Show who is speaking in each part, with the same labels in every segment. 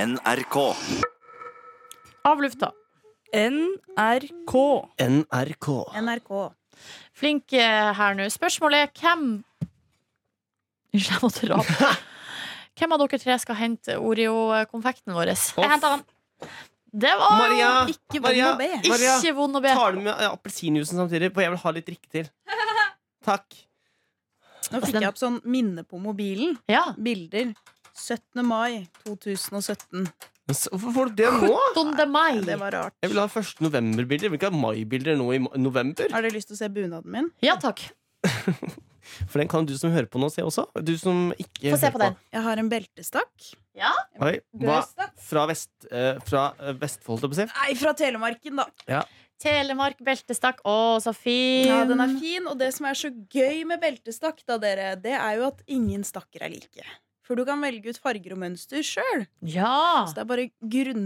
Speaker 1: NRK.
Speaker 2: Av lufta.
Speaker 3: NRK.
Speaker 4: NRK.
Speaker 5: NRK.
Speaker 2: Flink eh, her nå. Spørsmålet er hvem Unnskyld, jeg måtte rape. Hvem av dere tre skal hente Oreo-konfekten vår?
Speaker 4: Off.
Speaker 2: Jeg henter han. Det var
Speaker 4: Maria,
Speaker 5: Ikke vond
Speaker 4: Maria,
Speaker 5: å be.
Speaker 4: Maria,
Speaker 2: ikke vond å be.
Speaker 4: tar du med ja, appelsinjuicen samtidig? For jeg vil ha litt drikke til. Takk.
Speaker 5: Nå fikk jeg opp sånn minne på mobilen.
Speaker 2: Ja.
Speaker 5: Bilder. 17. mai 2017.
Speaker 4: Men så- Hvorfor får du det nå?
Speaker 2: Donde mai.
Speaker 5: Det var rart.
Speaker 4: Jeg vil ha 1. november-bilder. Jeg vil ikke ha mai-bilder nå i ma- november.
Speaker 5: Har dere lyst til å se bunaden min?
Speaker 2: Ja takk.
Speaker 4: For den kan du som hører på nå, se også. Du som ikke
Speaker 2: Få se
Speaker 4: hører
Speaker 2: på den.
Speaker 5: Jeg har en beltestakk.
Speaker 4: Oi, hva?
Speaker 5: Brødstakk.
Speaker 4: Fra, vest, eh, fra eh, Vestfold, holdt jeg på å si.
Speaker 5: Nei, fra Telemarken, da.
Speaker 2: Telemark beltestakk. Å, så fin.
Speaker 5: Ja, den er fin, og det som er så gøy med beltestakk, da, dere, det er jo at ingen stakker er like. For du kan velge ut farger og mønster sjøl.
Speaker 2: Ja.
Speaker 5: Så det er bare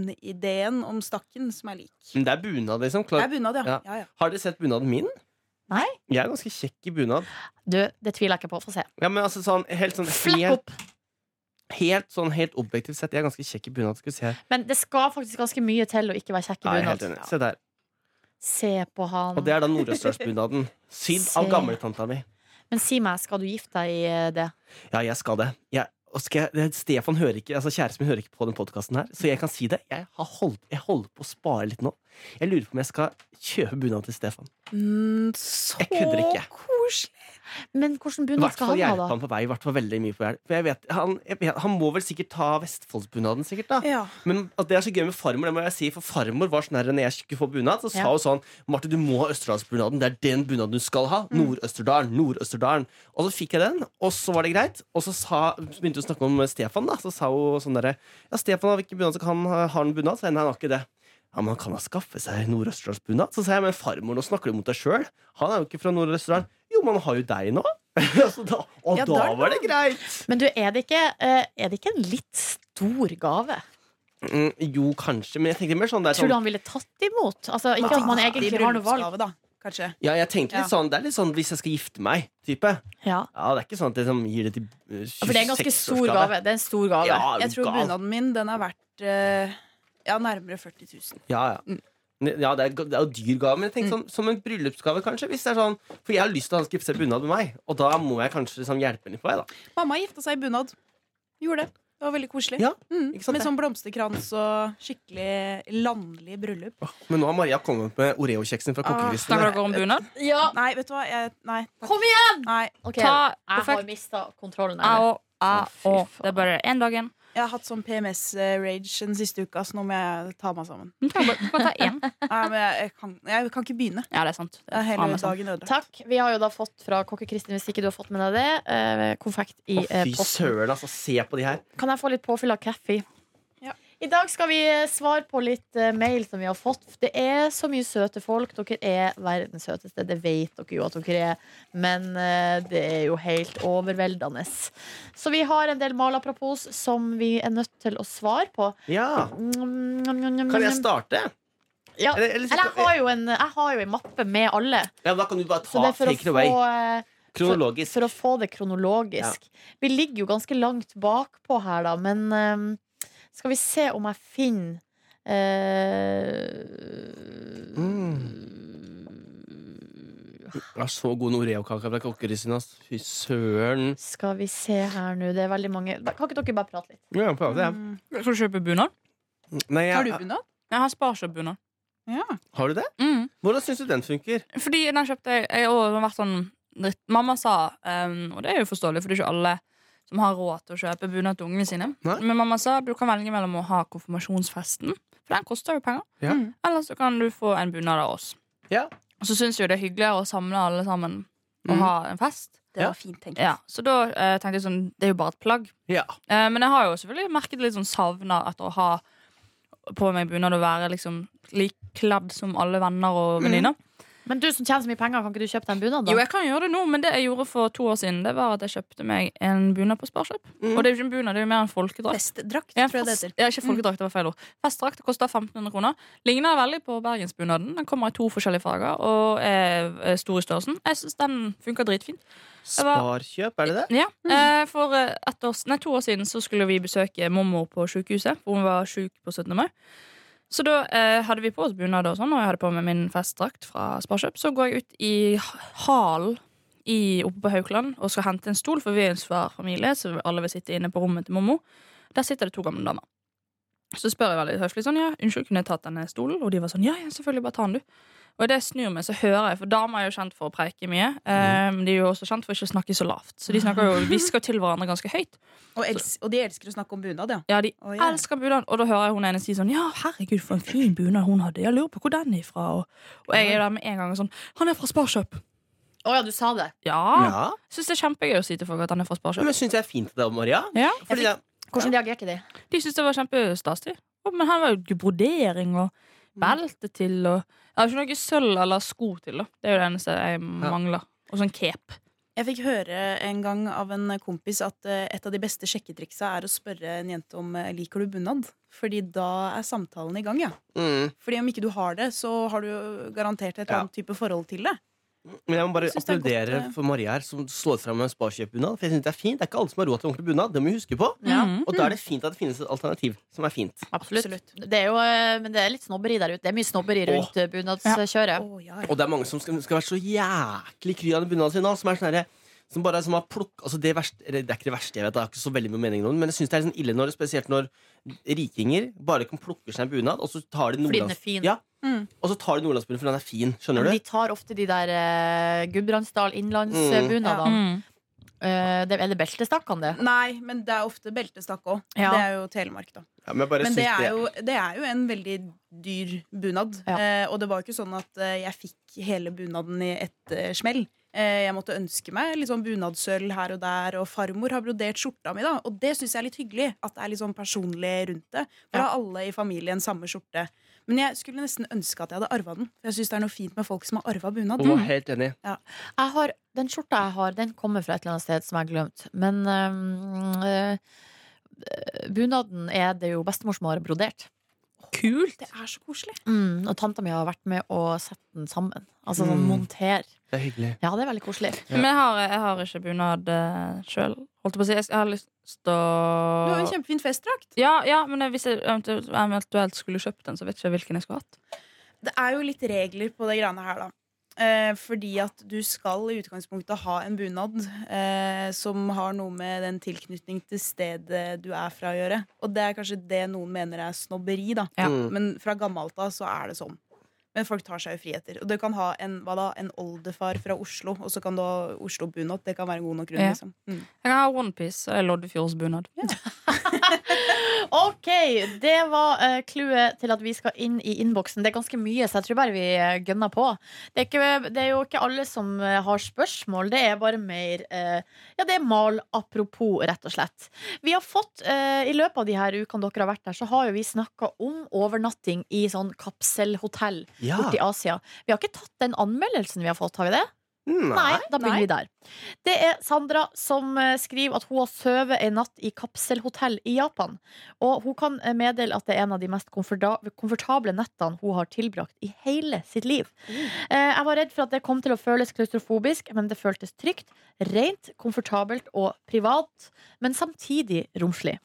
Speaker 5: grunnideen om stakken som er lik.
Speaker 4: Men det er bunad, liksom.
Speaker 5: Det
Speaker 4: Klar.
Speaker 5: er bunad, ja.
Speaker 4: Ja.
Speaker 5: ja, ja.
Speaker 4: Har dere sett bunaden min?
Speaker 2: Nei.
Speaker 4: Jeg er ganske kjekk i bunad.
Speaker 2: Du, det tviler jeg ikke på. Få se.
Speaker 4: Ja, men altså sånn helt sånn
Speaker 2: Flekk
Speaker 4: helt,
Speaker 2: opp.
Speaker 4: helt, sånn, helt objektivt sett, jeg er ganske kjekk i bunad. Skal vi se.
Speaker 2: Men det skal faktisk ganske mye til å ikke være kjekk i
Speaker 4: Nei, jeg er helt
Speaker 2: bunad.
Speaker 4: enig. Se der.
Speaker 2: Se på han.
Speaker 4: Og det er da Nordøstlandsbunaden. Sydd av
Speaker 2: Se.
Speaker 4: gamletanta mi.
Speaker 2: Men si meg, skal du gifte deg i eh, det?
Speaker 4: Ja, jeg skal det. Jeg, og skal jeg, det- Stefan hører ikke, altså Kjæresten min hører ikke på den podkasten her, så jeg kan si det. Jeg, har holdt, jeg holder på å spare litt nå. Jeg lurer på om jeg skal kjøpe bunad til Stefan.
Speaker 5: Mm, så
Speaker 4: Jeg kødder ikke.
Speaker 5: koselig!
Speaker 2: Men hvordan
Speaker 4: I
Speaker 2: bunad
Speaker 4: hvert
Speaker 2: skal
Speaker 4: fall
Speaker 2: han
Speaker 4: hjelpe
Speaker 2: ha, da?
Speaker 4: han på vei. i hvert fall veldig mye på vei. For jeg vet, han, jeg vet, han må vel sikkert ta Vestfoldsbunaden, sikkert. da
Speaker 5: Ja.
Speaker 4: Men at det er så gøy med farmor, det må jeg si. For farmor var sånn her når jeg skulle få bunad, så sa
Speaker 2: Ja.
Speaker 4: hun sånn Marte, du må ha Østerdalsbunaden. Det er den bunaden du skal ha. Nord-Østerdalen, Nord-Østerdalen. Og så fikk jeg den, og så var det greit. Og så sa, begynte hun å snakke om Stefan, da. Så sa hun sånn derre Ja, Stefan har ikke bunad, så kan han ha en bunad. Så jeg, nei, han har ikke det. Ja, men Han kan da skaffe seg nordøsterdalsbunad. Så sa jeg, men farmor, nå snakker du mot deg sjøl. Han er jo ikke fra Nord-Østerdalen. Jo, men han har jo deg nå. så da, og
Speaker 5: Ja,
Speaker 4: da
Speaker 5: da-
Speaker 4: var det greit.
Speaker 2: Men du, er det, ikke, eh, er det ikke en litt stor gave?
Speaker 4: Mm, jo, kanskje, men jeg tenkte mer sånn det er sånn
Speaker 2: Tror du han ville tatt imot? Altså, ikke at man egentlig har noe valg.
Speaker 5: Bryllupsgave, da, kanskje.
Speaker 4: Ja, jeg tenkte litt
Speaker 5: Ja.
Speaker 4: sånn, Det er litt sånn hvis jeg skal gifte meg. type
Speaker 2: Ja.
Speaker 4: Ja, Det er ikke sånn at jeg liksom gir det til eh, 26
Speaker 2: For det er en ganske stor gave. Det er en stor gave.
Speaker 4: Ja, er
Speaker 5: Jeg
Speaker 4: du
Speaker 5: tror
Speaker 4: Ah, gal?
Speaker 5: bunaden min den er verdt eh, ja, nærmere 40 000.
Speaker 4: Ja,
Speaker 2: Mm.
Speaker 4: ja. ja det, er, det er jo dyr gave, men jeg tenkte sånn, som en bryllupsgave, kanskje. Hvis det er sånn, For jeg har lyst til at han skal gifte seg bunad med meg, og da må jeg kanskje liksom hjelpe henne litt på vei. da
Speaker 5: Mamma gifta seg i bunad. Gjorde det. Det var veldig koselig.
Speaker 4: Ja,
Speaker 5: Mm,
Speaker 4: ikke sant
Speaker 5: Med
Speaker 4: det?
Speaker 5: sånn blomsterkrans og skikkelig landlig bryllup.
Speaker 4: Men nå har Maria kommet med Oreo-kjeksen fra
Speaker 5: Ah,
Speaker 4: kokkeristen.
Speaker 3: Snakker dere om bunad?
Speaker 2: Ja,
Speaker 5: Nei, vet du hva? Jeg, nei.
Speaker 2: kom igjen!
Speaker 5: nei.
Speaker 2: Ok,
Speaker 3: Ta
Speaker 2: Jeg har
Speaker 3: perfekt.
Speaker 2: mista kontrollen. Eller?
Speaker 3: Au, au,
Speaker 2: Å, fy
Speaker 3: å.
Speaker 2: faen.
Speaker 3: Det er bare én dagen.
Speaker 5: Jeg har hatt sånn PMS-rage den siste uka, så nå må jeg ta meg sammen.
Speaker 3: Du kan bare du kan ta én.
Speaker 5: Nei, men jeg, jeg, kan, jeg kan ikke begynne.
Speaker 3: Ja, det er sant. Det
Speaker 5: Det er
Speaker 3: er
Speaker 5: hele
Speaker 3: faen meg sant.
Speaker 5: dagen ødelagt.
Speaker 2: Takk. Vi har jo da fått fra kokke-Kristin, hvis ikke du har fått med deg det, eh, konfekt i
Speaker 4: Å,
Speaker 2: eh,
Speaker 4: fy
Speaker 2: posten.
Speaker 4: søren, altså. Se på de her.
Speaker 2: Kan jeg få litt påfyll av kaffe?
Speaker 5: Ja.
Speaker 2: I dag skal vi eh, svare på litt eh, mail som vi har fått. Det er så mye søte folk. Dere er verdens søteste. Det vet dere jo at dere er. Men eh, det er jo helt overveldende. Så vi har en del malapropos som vi er nødt til å svare på.
Speaker 4: Ja. Kan jeg
Speaker 2: Kan
Speaker 4: starte?
Speaker 2: Mm. Ja.
Speaker 4: Eller, eller,
Speaker 2: Eller jeg har jo en, jeg har jo en mappe med alle.
Speaker 4: ja, da kan du bare
Speaker 2: Så
Speaker 4: ta
Speaker 2: det er for
Speaker 4: take it
Speaker 2: å,
Speaker 4: away.
Speaker 2: få, eh,
Speaker 4: Kronologisk.
Speaker 2: for å få det kronologisk. Vi ligger jo ganske langt bakpå her, da, men eh, skal vi se om jeg finner eh,
Speaker 4: Det er så god Oreo-kake fra kokkeristen. ass. Fy søren.
Speaker 2: Skal vi se her nå. Det er veldig mange Kan ikke dere bare prate litt?
Speaker 4: Ja, prøv det.
Speaker 5: Mm.
Speaker 3: Skal du kjøpe bunad?
Speaker 4: Nei, jeg,
Speaker 5: Har du bunad?
Speaker 3: Jeg har sparkjøpt bunad.
Speaker 5: Ja.
Speaker 4: Har du det?
Speaker 3: Mm.
Speaker 4: Hvordan syns du den funker?
Speaker 3: Fordi den kjøpte jeg, jeg og det har vært sånn dritt. Mamma sa, ehm, og det er jo forståelig, for det er ikke alle som har råd til å kjøpe bunad til ungene sine.
Speaker 4: Nei.
Speaker 3: Men mamma sa du kan velge mellom å ha konfirmasjonsfesten, for den koster jo penger.
Speaker 4: Ja.
Speaker 5: Mm.
Speaker 3: Eller så kan du få en bunad av oss.
Speaker 4: Ja.
Speaker 3: Og så syns jeg det er hyggeligere å samle alle sammen og
Speaker 4: Mhm.
Speaker 3: ha en fest.
Speaker 5: Det
Speaker 4: Ja.
Speaker 5: var fint tenkt.
Speaker 3: Ja, så da eh, tenkte jeg sånn, det er jo bare et plagg.
Speaker 4: Ja.
Speaker 3: Eh, men jeg har jo selvfølgelig merket litt sånn savna etter å ha på meg bunad og være liksom lik kledd som alle venner og venninner.
Speaker 2: Men du som tjener så mye penger, kan ikke du kjøpe deg en bunad,
Speaker 3: Jo,
Speaker 2: da?
Speaker 3: jeg kan gjøre det nå, men det jeg gjorde for to år siden, Det var at jeg kjøpte meg en bunad på Sparkjøp.
Speaker 4: Mm.
Speaker 3: Og det er jo ikke en bunad, det er jo mer en folkedrakt.
Speaker 5: Festdrakt,
Speaker 3: Ja,
Speaker 5: tror jeg det
Speaker 3: fest-
Speaker 5: heter. Mm.
Speaker 3: ja, ikke folkedrakt, det var feil ord. Festdrakt det koster 1500 kroner. Ligner veldig på bergensbunaden. Den kommer i to forskjellige farger og er er stor i størrelsen. Jeg syns den funker dritfint. var-
Speaker 4: Sparkjøp, er det det?
Speaker 3: Ja, eh, For eh, ett år, s- nei, to år siden så skulle vi besøke mormor på sykehuset, for hun var syk på 17. mai. Så da eh, hadde vi på oss bunad, og sånn, og jeg hadde på meg min festdrakt fra Sparkjøp. Så går jeg ut i h- halen i- oppe på Haukeland og skal hente en stol, for vi er en svær familie, så alle vil sitte inne på rommet til mormor. Der sitter det to gamle damer. Så spør jeg veldig høflig sånn, ja, unnskyld, kunne jeg tatt denne stolen? Og de var sånn, ja, ja, selvfølgelig, bare ta den du. Og idet jeg snur meg, så hører jeg, for damer er jo kjent for å preike mye. eh, Men de er jo også kjent for ikke å snakke så lavt. Så de snakker jo, hvisker til hverandre ganske høyt.
Speaker 5: Og, els og de elsker å snakke om bunad, ja.
Speaker 3: Ja, de
Speaker 5: Å, ja.
Speaker 3: elsker bunad. Og da hører jeg hun ene si sånn Ja, herregud, for en fin bunad hun hadde. Jeg lurer på hvor den er fra. Og, og jeg er der med en gang og sånn Han er fra Sparkjøp.
Speaker 2: Å ja, du sa det.
Speaker 3: Ja.
Speaker 4: Ja.
Speaker 3: Syns det er kjempegøy å si til folk at han er fra
Speaker 4: Ja,
Speaker 3: Sparkjøp.
Speaker 4: Men syns jeg er fint det, Maria?
Speaker 3: Ja.
Speaker 4: Fordi det,
Speaker 2: Hvordan reagerte de?
Speaker 3: De syntes det var kjempestasig. Og- Men her var jo brodering og belte til og Jeg har ikke noe sølv eller sko til, da. Det er jo det eneste jeg mangler. Og sånn cape.
Speaker 5: Jeg fikk høre en gang av en kompis at eh, et av de beste sjekketriksa er å spørre en jente om eh, liker du bunad. Fordi da er samtalen i gang, ja.
Speaker 4: mm.
Speaker 5: Fordi om ikke du har det, så har du jo garantert et eller
Speaker 4: Ja.
Speaker 5: annet type forhold til det.
Speaker 4: Men jeg må bare
Speaker 5: Jeg synes det er
Speaker 4: applaudere
Speaker 5: godt, eh.
Speaker 4: for Maria her, som slår fram med en sparkjøpbunad. For jeg synes det er fint. Det er ikke alle som har råd til ordentlig bunad. Det må vi huske på.
Speaker 2: Ja.
Speaker 3: Mhm.
Speaker 4: Og da er det fint at det finnes et alternativ som er fint.
Speaker 2: Absolutt. Det er jo, eh, men det er litt snobberi der ute. Det er mye snobberi rundt eh, bunadskjøret.
Speaker 5: Å, ja,
Speaker 4: Og det er mange som skal, skal være så jæklig kry av den bunaden sin nå, som er sånn herre som bare som har plukk, altså det, verste, eller det er ikke det verste, jeg vet, det har ikke så veldig mye mening om det, men jeg synes det er sånn ille når, spesielt når rikinger bare kan plukke seg en bunad, og så tar de
Speaker 2: Fordi den
Speaker 4: Nordlands...
Speaker 2: er fin.
Speaker 4: Ja,
Speaker 5: Mm.
Speaker 4: og så tar de Nordlandsbunaden fordi den er fin, skjønner
Speaker 2: Men
Speaker 4: du?
Speaker 2: de tar ofte de der eh, Gudbrandsdal
Speaker 4: Mm.
Speaker 2: innlandsbunadene.
Speaker 3: Mm.
Speaker 2: Eh, det- er det beltestakkene, det?
Speaker 5: Nei, men det er ofte beltestakk òg.
Speaker 3: Ja.
Speaker 5: Det er jo Telemark, da.
Speaker 4: Ja, men jeg bare
Speaker 5: Men
Speaker 4: synes
Speaker 5: det er, jo, det er jo en veldig dyr bunad.
Speaker 2: Ja.
Speaker 5: Eh, og det var jo ikke sånn at eh, jeg fikk hele bunaden i ett eh, smell. Eh, jeg måtte ønske meg litt sånn bunadsølv her og der, og farmor har brodert skjorta mi, da. Og det syns jeg er litt hyggelig, at det er litt sånn personlig rundt det. For da har alle i familien samme skjorte. Men jeg skulle nesten ønske at jeg hadde arva den. For jeg syns det er noe fint med folk som har arva bunad.
Speaker 4: Å, helt enig.
Speaker 2: Jeg har, den skjorta jeg har, den kommer fra et eller annet sted som jeg har glemt. Men eh, eh, bunaden er det jo bestemor som har brodert.
Speaker 3: Kult.
Speaker 5: Det er så koselig.
Speaker 2: Mm, og tanta mi har vært med å sette den sammen. Altså sånn
Speaker 4: Mm.
Speaker 2: monter.
Speaker 4: Det er hyggelig.
Speaker 2: Ja, det er veldig koselig.
Speaker 3: Men jeg har, jeg har ikke bunad uh, sjøl, holdt jeg på å si. Jeg har lyst til
Speaker 5: Du har jo en
Speaker 3: å
Speaker 5: kjempefin festdrakt.
Speaker 3: ja, ja, men hvis jeg eventuelt- eventuelt skulle kjøpt den, så vet jeg ikke hvilken jeg skulle hatt.
Speaker 5: Det er jo litt regler på det greiene her, da. Eh, fordi at du skal i utgangspunktet ha en bunad eh, som har noe med den tilknytning til stedet du er fra å gjøre. Og det er kanskje det noen mener er snobberi, da.
Speaker 3: Ja.
Speaker 4: Mm.
Speaker 5: Men fra gammelt av så er det sånn. Men folk tar seg jo friheter. Og du kan ha en, hva da, en oldefar fra Oslo, og så kan du ha Oslo-bunad. Det kan være en god nok grunn,
Speaker 3: Ja.
Speaker 5: liksom. Mm.
Speaker 3: Jeg kan ha onepiece og Loddefjordsbunad.
Speaker 2: Ok, det var eh, clouet til at vi skal inn i innboksen. Det er ganske mye, så jeg tror bare vi eh, gønner på. Det er, ikke, det er jo ikke alle som eh, har spørsmål, det er bare mer eh, Ja, det er mal apropos, rett og slett. Vi har fått, eh, I løpet av de her ukene dere har vært der, så har jo vi snakka om overnatting i sånn kapselhotell
Speaker 4: Ja.
Speaker 2: borte i Asia. Vi har ikke tatt den anmeldelsen vi har fått, har vi det?
Speaker 4: Mm.
Speaker 2: Nei, da begynner
Speaker 5: Nei.
Speaker 2: vi der. Det er Sandra som eh, skriver at hun har sovet en natt i kapselhotell i Japan. Og hun kan eh, meddele at det er en av de mest komforta komfortable nettene hun har tilbrakt i hele sitt liv. Eh, Jeg var redd for at det kom til å føles klaustrofobisk, men det føltes trygt, rent, komfortabelt og privat, men samtidig romslig.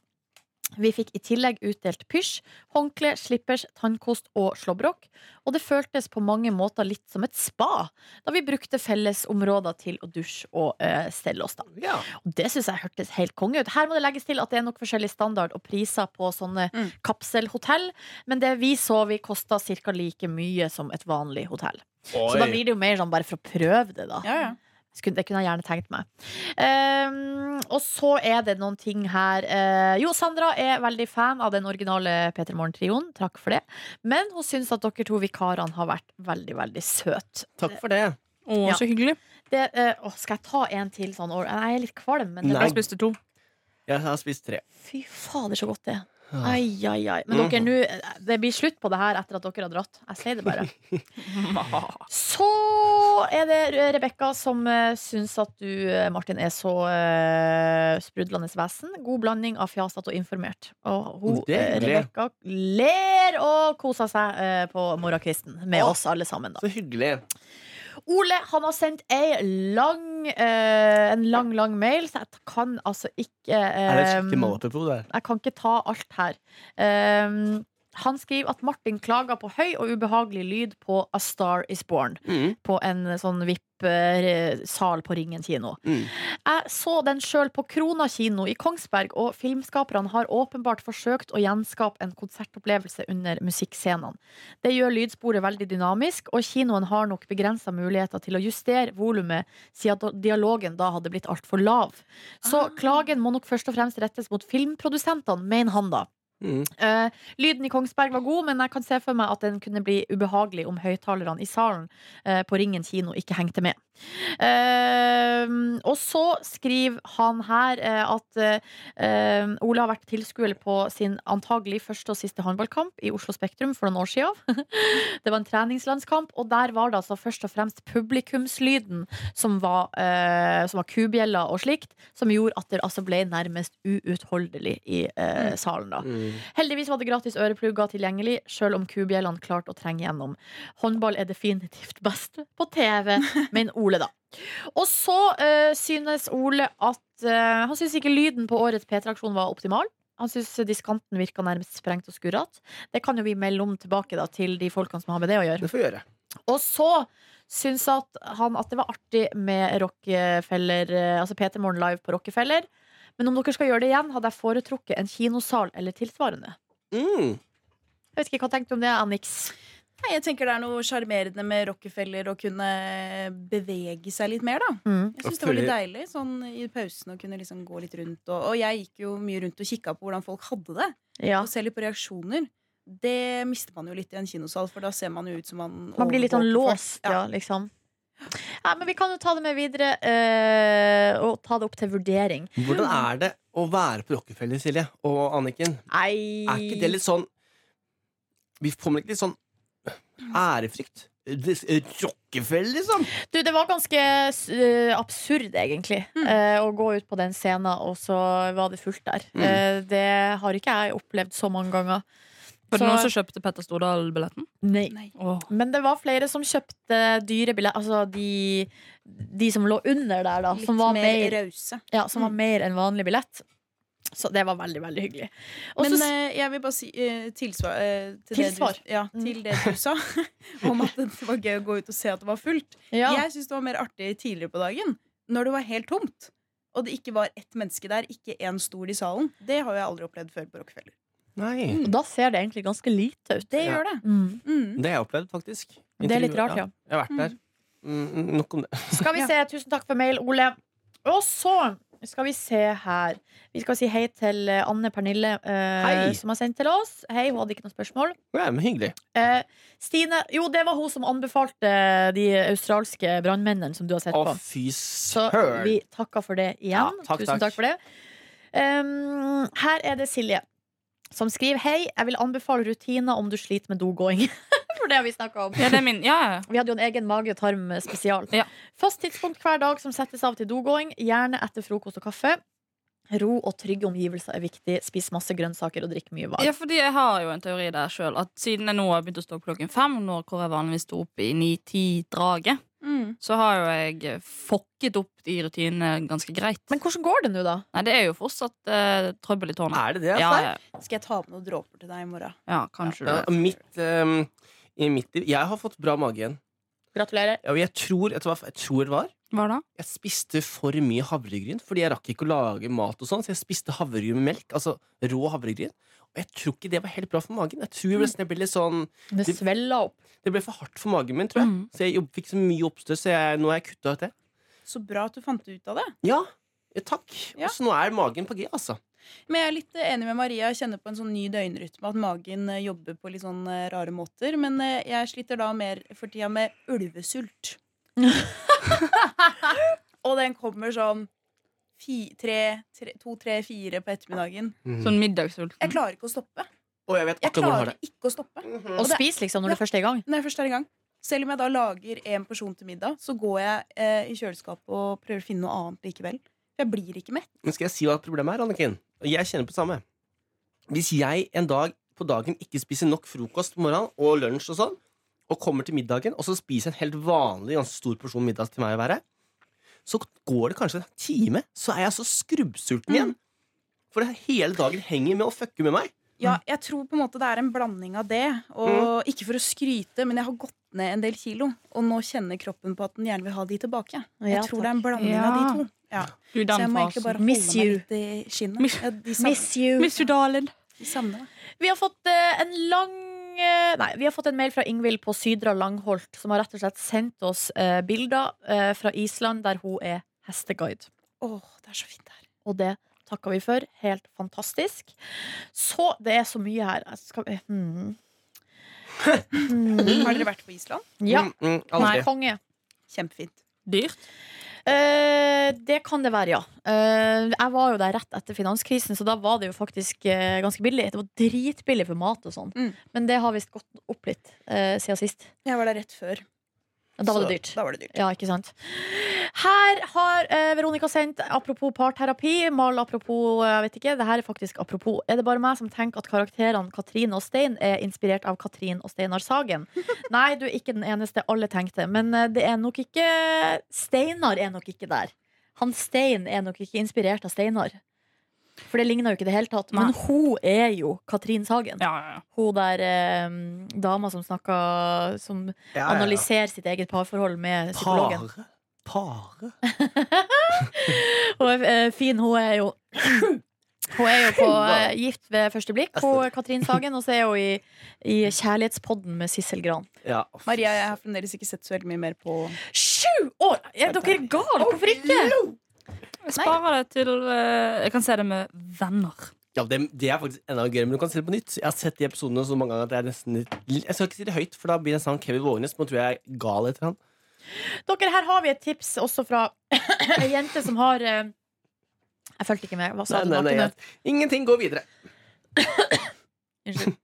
Speaker 2: Vi fikk i tillegg utdelt pysj, håndkle, slippers, tannkost og slåbrok. Og det føltes på mange måter litt som et spa, da vi brukte fellesområder til å dusje og eh, stelle oss. da.
Speaker 4: Ja.
Speaker 2: Og det syns jeg hørtes helt konge ut. Her må det legges til at det er nok forskjellig standard og priser på sånne
Speaker 5: Mm.
Speaker 2: kapselhotell, men det vi så vi kosta ca. like mye som et vanlig hotell. Så da
Speaker 4: Oi.
Speaker 2: blir det jo mer sånn bare for å prøve det, da.
Speaker 5: Ja, ja.
Speaker 2: Skulle- Det kunne jeg gjerne tenkt meg. Ehm, og så er det noen ting her eh, Jo, Sandra er veldig fan av den originale Peter Morgen-trioen. Takk for det. Men hun syns at dere to vikarene har vært veldig, veldig søte.
Speaker 4: Takk for det.
Speaker 3: Å,
Speaker 2: Ja.
Speaker 3: så hyggelig.
Speaker 2: Det, eh, å, skal jeg ta en til sånn? Or- Jeg er litt kvalm, men det
Speaker 4: Nei.
Speaker 2: var
Speaker 3: Jeg spiste to.
Speaker 4: Jeg har spist tre.
Speaker 2: Fy fader, så godt det er. Ai, ai, ai. Men dere,
Speaker 4: Mhm.
Speaker 2: nå eh, Det blir slutt på det her etter at dere har dratt. Jeg sier det bare. Så er det Rebekka som uh, syns at du, eh, Martin, er så eh, sprudlende vesen. God blanding av fjasete og informert. Og hun,
Speaker 4: Det er
Speaker 2: eh,
Speaker 4: hyggelig.
Speaker 2: Rebekka ler og koser seg eh, på morgenkvisten med
Speaker 4: Å.
Speaker 2: oss alle sammen, da.
Speaker 4: Så hyggelig.
Speaker 5: Ehm.
Speaker 2: Ole han har sendt ei lang, eh, en lang, lang mail, så jeg kan altså ikke eh,
Speaker 4: Er det skikkelig malapropos, det her?
Speaker 2: jeg kan ikke ta alt her. Ehm, han skriver at Martin klager på høy og ubehagelig lyd på A Star Is Born.
Speaker 4: Mm.
Speaker 2: På en sånn VIP-sal på Ringen kino.
Speaker 4: Mm.
Speaker 2: Jeg så den sjøl på Krona kino i Kongsberg, og filmskaperne har åpenbart forsøkt å gjenskape en konsertopplevelse under musikkscenene. Det gjør lydsporet veldig dynamisk, og kinoen har nok begrensa muligheter til å justere volumet, siden dialogen da hadde blitt altfor lav. Så klagen må nok først og fremst rettes mot filmprodusentene, mener han da.
Speaker 4: Mm.
Speaker 2: Eh, lyden i Kongsberg var god, men jeg kan se for meg at den kunne bli ubehagelig om høyttalerne i salen eh, på Ringen kino ikke hengte med. Eh, og så skriver han her eh, at eh, Ole har vært tilskuer på sin antagelig første og siste håndballkamp i Oslo Spektrum for noen år siden. det var en treningslandskamp, og der var det altså først og fremst publikumslyden som var, eh, som var kubjeller og slikt, som gjorde at det altså ble nærmest uutholdelig i eh, salen. da.
Speaker 4: Mm.
Speaker 2: Heldigvis var det gratis øreplugger tilgjengelig, sjøl om kubjellene klarte å trenge gjennom. Håndball er definitivt best på TV, men Ole, da. Og så eh, synes Ole at eh, Han synes ikke lyden på årets P3-aksjon var optimal. Han synes diskanten virka nærmest sprengt og skurrete. Det kan jo vi melde om tilbake da, til de folkene som har med det å gjøre.
Speaker 4: Det får vi gjøre.
Speaker 2: Og så syns at han at det var artig med Rockefeller eh, Altså Peter Morgen live på Rockefeller. Men om dere skal gjøre det igjen, hadde jeg foretrukket en kinosal eller tilsvarende.
Speaker 4: Mm.
Speaker 2: Jeg vet ikke, Hva tenkte du om det, Annix?
Speaker 5: Nei, jeg tenker det er noe sjarmerende med Rockefeller å kunne bevege seg litt mer, da.
Speaker 2: Mm,
Speaker 5: Jeg syns det var litt deilig sånn i pausen å kunne liksom gå litt rundt. Og, og jeg gikk jo mye rundt og kikka på hvordan folk hadde det.
Speaker 2: Ja.
Speaker 5: Og se litt på reaksjoner. Det mister man jo litt i en kinosal, for da ser man jo ut som man
Speaker 2: Man blir litt sånn
Speaker 5: overvåker folk.
Speaker 2: låst, ja, liksom. Nei, men vi kan jo ta det med videre eh, og ta det opp til vurdering.
Speaker 4: Hvordan er det å være på Rockefeller, Silje og Anniken?
Speaker 2: Nei
Speaker 4: Er ikke det litt sånn Vi får ikke litt sånn ærefrykt? Det- Rockefeller, liksom?
Speaker 2: Du, det var ganske eh, absurd, egentlig,
Speaker 4: Mm.
Speaker 2: eh, å gå ut på den scenen, og så var det fullt der.
Speaker 4: Mm.
Speaker 2: Eh, det har ikke jeg opplevd så mange ganger.
Speaker 3: Var det
Speaker 2: Så-
Speaker 3: noen som kjøpte Petter Stordal-billetten?
Speaker 2: Nei.
Speaker 5: Nei.
Speaker 3: Åh.
Speaker 2: Men det var flere som kjøpte dyre billetter. Altså de, de som lå under der, da.
Speaker 5: Litt
Speaker 2: Som var,
Speaker 5: mer
Speaker 2: mer,
Speaker 5: rause.
Speaker 2: ja, som var mer enn vanlig billett. Så det var veldig, veldig hyggelig. Og
Speaker 5: Men
Speaker 2: så-
Speaker 5: eh, jeg vil bare si eh, tilsvar, eh, til,
Speaker 2: Tilsvar. Mm.
Speaker 5: Det du, ja, til det du sa om at det var gøy å gå ut og se at det var fullt.
Speaker 2: eh, ja.
Speaker 5: Jeg syns det var mer artig tidligere på dagen, når det var helt tomt. Og det ikke var ett menneske der, ikke én stol i salen. Det har jo jeg aldri opplevd før på Rockefeller.
Speaker 4: Nei.
Speaker 2: Og da ser det egentlig ganske lite ut.
Speaker 5: Det
Speaker 4: Ja.
Speaker 5: gjør det.
Speaker 2: Mm.
Speaker 5: Mm.
Speaker 4: Det har jeg opplevd, faktisk.
Speaker 2: Det er litt rart, ja.
Speaker 4: Jeg har vært der. Mm, nok om det.
Speaker 2: Skal vi se, tusen takk for mail, Ole. Og så skal vi se her. Vi skal si hei til eh, Anne Pernille, eh,
Speaker 4: Hei.
Speaker 2: som har sendt til oss. Hei, hun hadde ikke noe spørsmål.
Speaker 4: Ja, men hyggelig.
Speaker 2: Eh, Stine, jo, det var hun som anbefalte eh, de australske brannmennene som du har sett
Speaker 4: Å,
Speaker 2: på.
Speaker 4: fy
Speaker 2: Så
Speaker 4: søren!
Speaker 2: vi takker for det
Speaker 4: Ja,
Speaker 2: igjen.
Speaker 4: takk,
Speaker 2: Tusen takk,
Speaker 4: takk.
Speaker 2: for det. Um, her er det Silje som skriver Hei, jeg vil anbefale rutiner om du sliter med dogåing. for det har vi snakka om.
Speaker 3: Ja, det er min. Ja, ja.
Speaker 2: Vi hadde jo en egen mage-tarm-spesial.
Speaker 3: Ja.
Speaker 2: Fast tidspunkt hver dag som settes av til dogåing, gjerne etter frokost og kaffe. Ro og trygge omgivelser er viktig. Spis masse grønnsaker og drikk mye vann.
Speaker 3: ja, fordi jeg har jo en teori der sjøl. At siden jeg nå har begynt å stå opp klokken fem, når hvor jeg vanligvis sto opp i ni-ti-draget,
Speaker 5: Mm.
Speaker 3: så har jo jeg fokket opp de rutinene ganske greit.
Speaker 2: Men hvordan går det nå, da?
Speaker 3: Nei, det er jo fortsatt eh, trøbbel i tårnet.
Speaker 4: Er det det?
Speaker 3: Ja,
Speaker 4: altså?
Speaker 3: ja,
Speaker 5: Skal jeg ta med noen dråper til deg i morgen?
Speaker 3: ja, kanskje
Speaker 4: Ja,
Speaker 3: du det.
Speaker 4: mitt, ehm, i mitt liv Jeg har fått bra mage igjen.
Speaker 2: Gratulerer.
Speaker 4: Ja, og Jeg tror, vet du hva jeg tror det var?
Speaker 3: Hva da?
Speaker 4: Jeg spiste for mye havregryn, fordi jeg rakk ikke å lage mat. og sånn Så jeg spiste havregryn med melk. Altså rå havregryn. Og jeg tror ikke det var helt bra for magen. Jeg tror
Speaker 5: Mm.
Speaker 4: nesten jeg ble litt sånn
Speaker 2: Det
Speaker 4: Det-
Speaker 2: svelger opp.
Speaker 4: Det ble for hardt for magen min, tror jeg.
Speaker 3: Mm.
Speaker 4: Så jeg jobb- fikk så mye oppstøt, så jeg, nå har jeg kutta ut det.
Speaker 5: Så bra at du fant ut av det.
Speaker 4: Ja, ja takk.
Speaker 5: Ja.
Speaker 4: Og Så nå er magen på G, altså.
Speaker 5: Men jeg er litt eh, enig med Maria. Jeg kjenner på en sånn ny døgnrytme. At magen eh, jobber på litt sånn eh, rare måter. Men eh, jeg sliter da mer for tida med ulvesult. og den kommer sånn fi- tre- tre- to, tre, fire på ettermiddagen.
Speaker 3: Sånn middagssulten.
Speaker 5: Mm. Jeg klarer ikke å stoppe.
Speaker 4: Og jeg vet
Speaker 5: Jeg
Speaker 4: akkurat hvor du har
Speaker 5: klarer
Speaker 4: det. Mhm.
Speaker 5: ikke å stoppe
Speaker 2: Og
Speaker 5: det-
Speaker 2: spis liksom når
Speaker 5: Ja.
Speaker 2: du først er i gang.
Speaker 5: når jeg først er i gang. Selv om jeg da lager en porsjon til middag, så går jeg eh, i kjøleskapet og prøver å finne noe annet likevel. For jeg blir ikke mett.
Speaker 4: Men skal jeg si hva problemet er, Anniken? Og jeg kjenner på det samme. Hvis jeg en dag på dagen ikke spiser nok frokost på morgenen og lunsj og sånn, og kommer til middagen, og så spiser en helt vanlig ganske stor porsjon middag til meg å være, så går det kanskje en time, så er jeg så skrubbsulten igjen.
Speaker 2: Mm.
Speaker 4: For det hele dagen henger med å fucke med meg.
Speaker 5: Ja, jeg tror på en måte det er en blanding av det. Og ikke for å skryte, men jeg har gått ned en del kilo. Og nå kjenner kroppen på at den gjerne vil ha de tilbake. Jeg
Speaker 2: Ja,
Speaker 5: tror
Speaker 2: takk.
Speaker 5: det er en blanding av
Speaker 3: Ja.
Speaker 5: de to. Ja.
Speaker 3: Du,
Speaker 5: Så jeg
Speaker 3: den
Speaker 5: må egentlig
Speaker 3: fasen.
Speaker 5: bare holde
Speaker 2: Miss
Speaker 5: meg
Speaker 2: you.
Speaker 5: litt i skinnet.
Speaker 3: Miss-
Speaker 5: Ja, de savner,
Speaker 2: Miss you.
Speaker 3: Miss you, darling.
Speaker 5: de savner meg.
Speaker 2: Vi har fått eh, en lang eh, Nei, vi har fått en mail fra Ingvild på Sydra Langholt, som har rett og slett sendt oss eh, bilder eh, fra Island der hun er hesteguide.
Speaker 5: Åh, det er så fint her.
Speaker 2: Og det takker vi for. Helt fantastisk. Så det er så mye her. Jeg Skal vi hmm. Hmm.
Speaker 5: Har dere vært på Island?
Speaker 2: Ja.
Speaker 4: Mm, mm,
Speaker 2: Nei,
Speaker 4: aldri.
Speaker 2: konge.
Speaker 5: Kjempefint.
Speaker 3: Dyrt.
Speaker 2: Eh, det kan det være, ja. Eh, jeg var jo der rett etter finanskrisen, så da var det jo faktisk eh, ganske billig. Det var dritbillig for mat og sånn,
Speaker 5: Mm.
Speaker 2: men det har visst gått opp litt eh, siden sist.
Speaker 5: Jeg var der rett før.
Speaker 2: Da var
Speaker 5: så
Speaker 2: det dyrt.
Speaker 5: Da var det dyrt.
Speaker 2: Ja, ikke sant. Her har eh, Veronica sendt apropos parterapi. Mal apropos eh, jeg vet ikke. Det her er faktisk apropos. Er det bare meg som tenker at karakterene Katrine og Stein er inspirert av Katrin og Steinar Sagen? Nei, du er ikke den eneste alle tenkte. Men eh, det er nok ikke Steinar er nok ikke der. Han Stein er nok ikke inspirert av Steinar. For det ligner jo ikke i det hele tatt. Men
Speaker 3: Nei.
Speaker 2: hun er jo Katrin Sagen.
Speaker 3: Ja, ja, ja.
Speaker 2: Hun der eh, dama som snakka Som
Speaker 4: Ja, ja, ja.
Speaker 2: analyserer sitt eget parforhold med psykologen.
Speaker 4: Pare. Pare.
Speaker 2: Hun er eh, fin, hun er jo Hun er jo på eh, Gift ved første blikk, hun er Katrin Sagen, og så er hun i, i Kjærlighetspodden med Sissel Gran.
Speaker 4: Ja,
Speaker 5: Maria, jeg har fremdeles ikke sett så veldig mye mer på
Speaker 2: Sju år! Er dere gale? Hvorfor ikke?
Speaker 3: Jeg sparer det til eh, Jeg kan se det med venner.
Speaker 4: Ja, det, det er faktisk enda gøyere, men du kan se det på nytt. Jeg har sett de episodene så mange ganger at jeg er nesten litt Jeg skal ikke si det høyt, for da blir det en sånn Kevin Vågenes, men tror jeg er gal etter han.
Speaker 2: Dere, her har vi et tips også fra ei jente som har eh, Jeg fulgte ikke med. Hva sa
Speaker 4: Nei,
Speaker 2: du?
Speaker 4: nei, nei,
Speaker 2: Martine?
Speaker 4: jeg- Ingenting går videre.
Speaker 2: Unnskyld.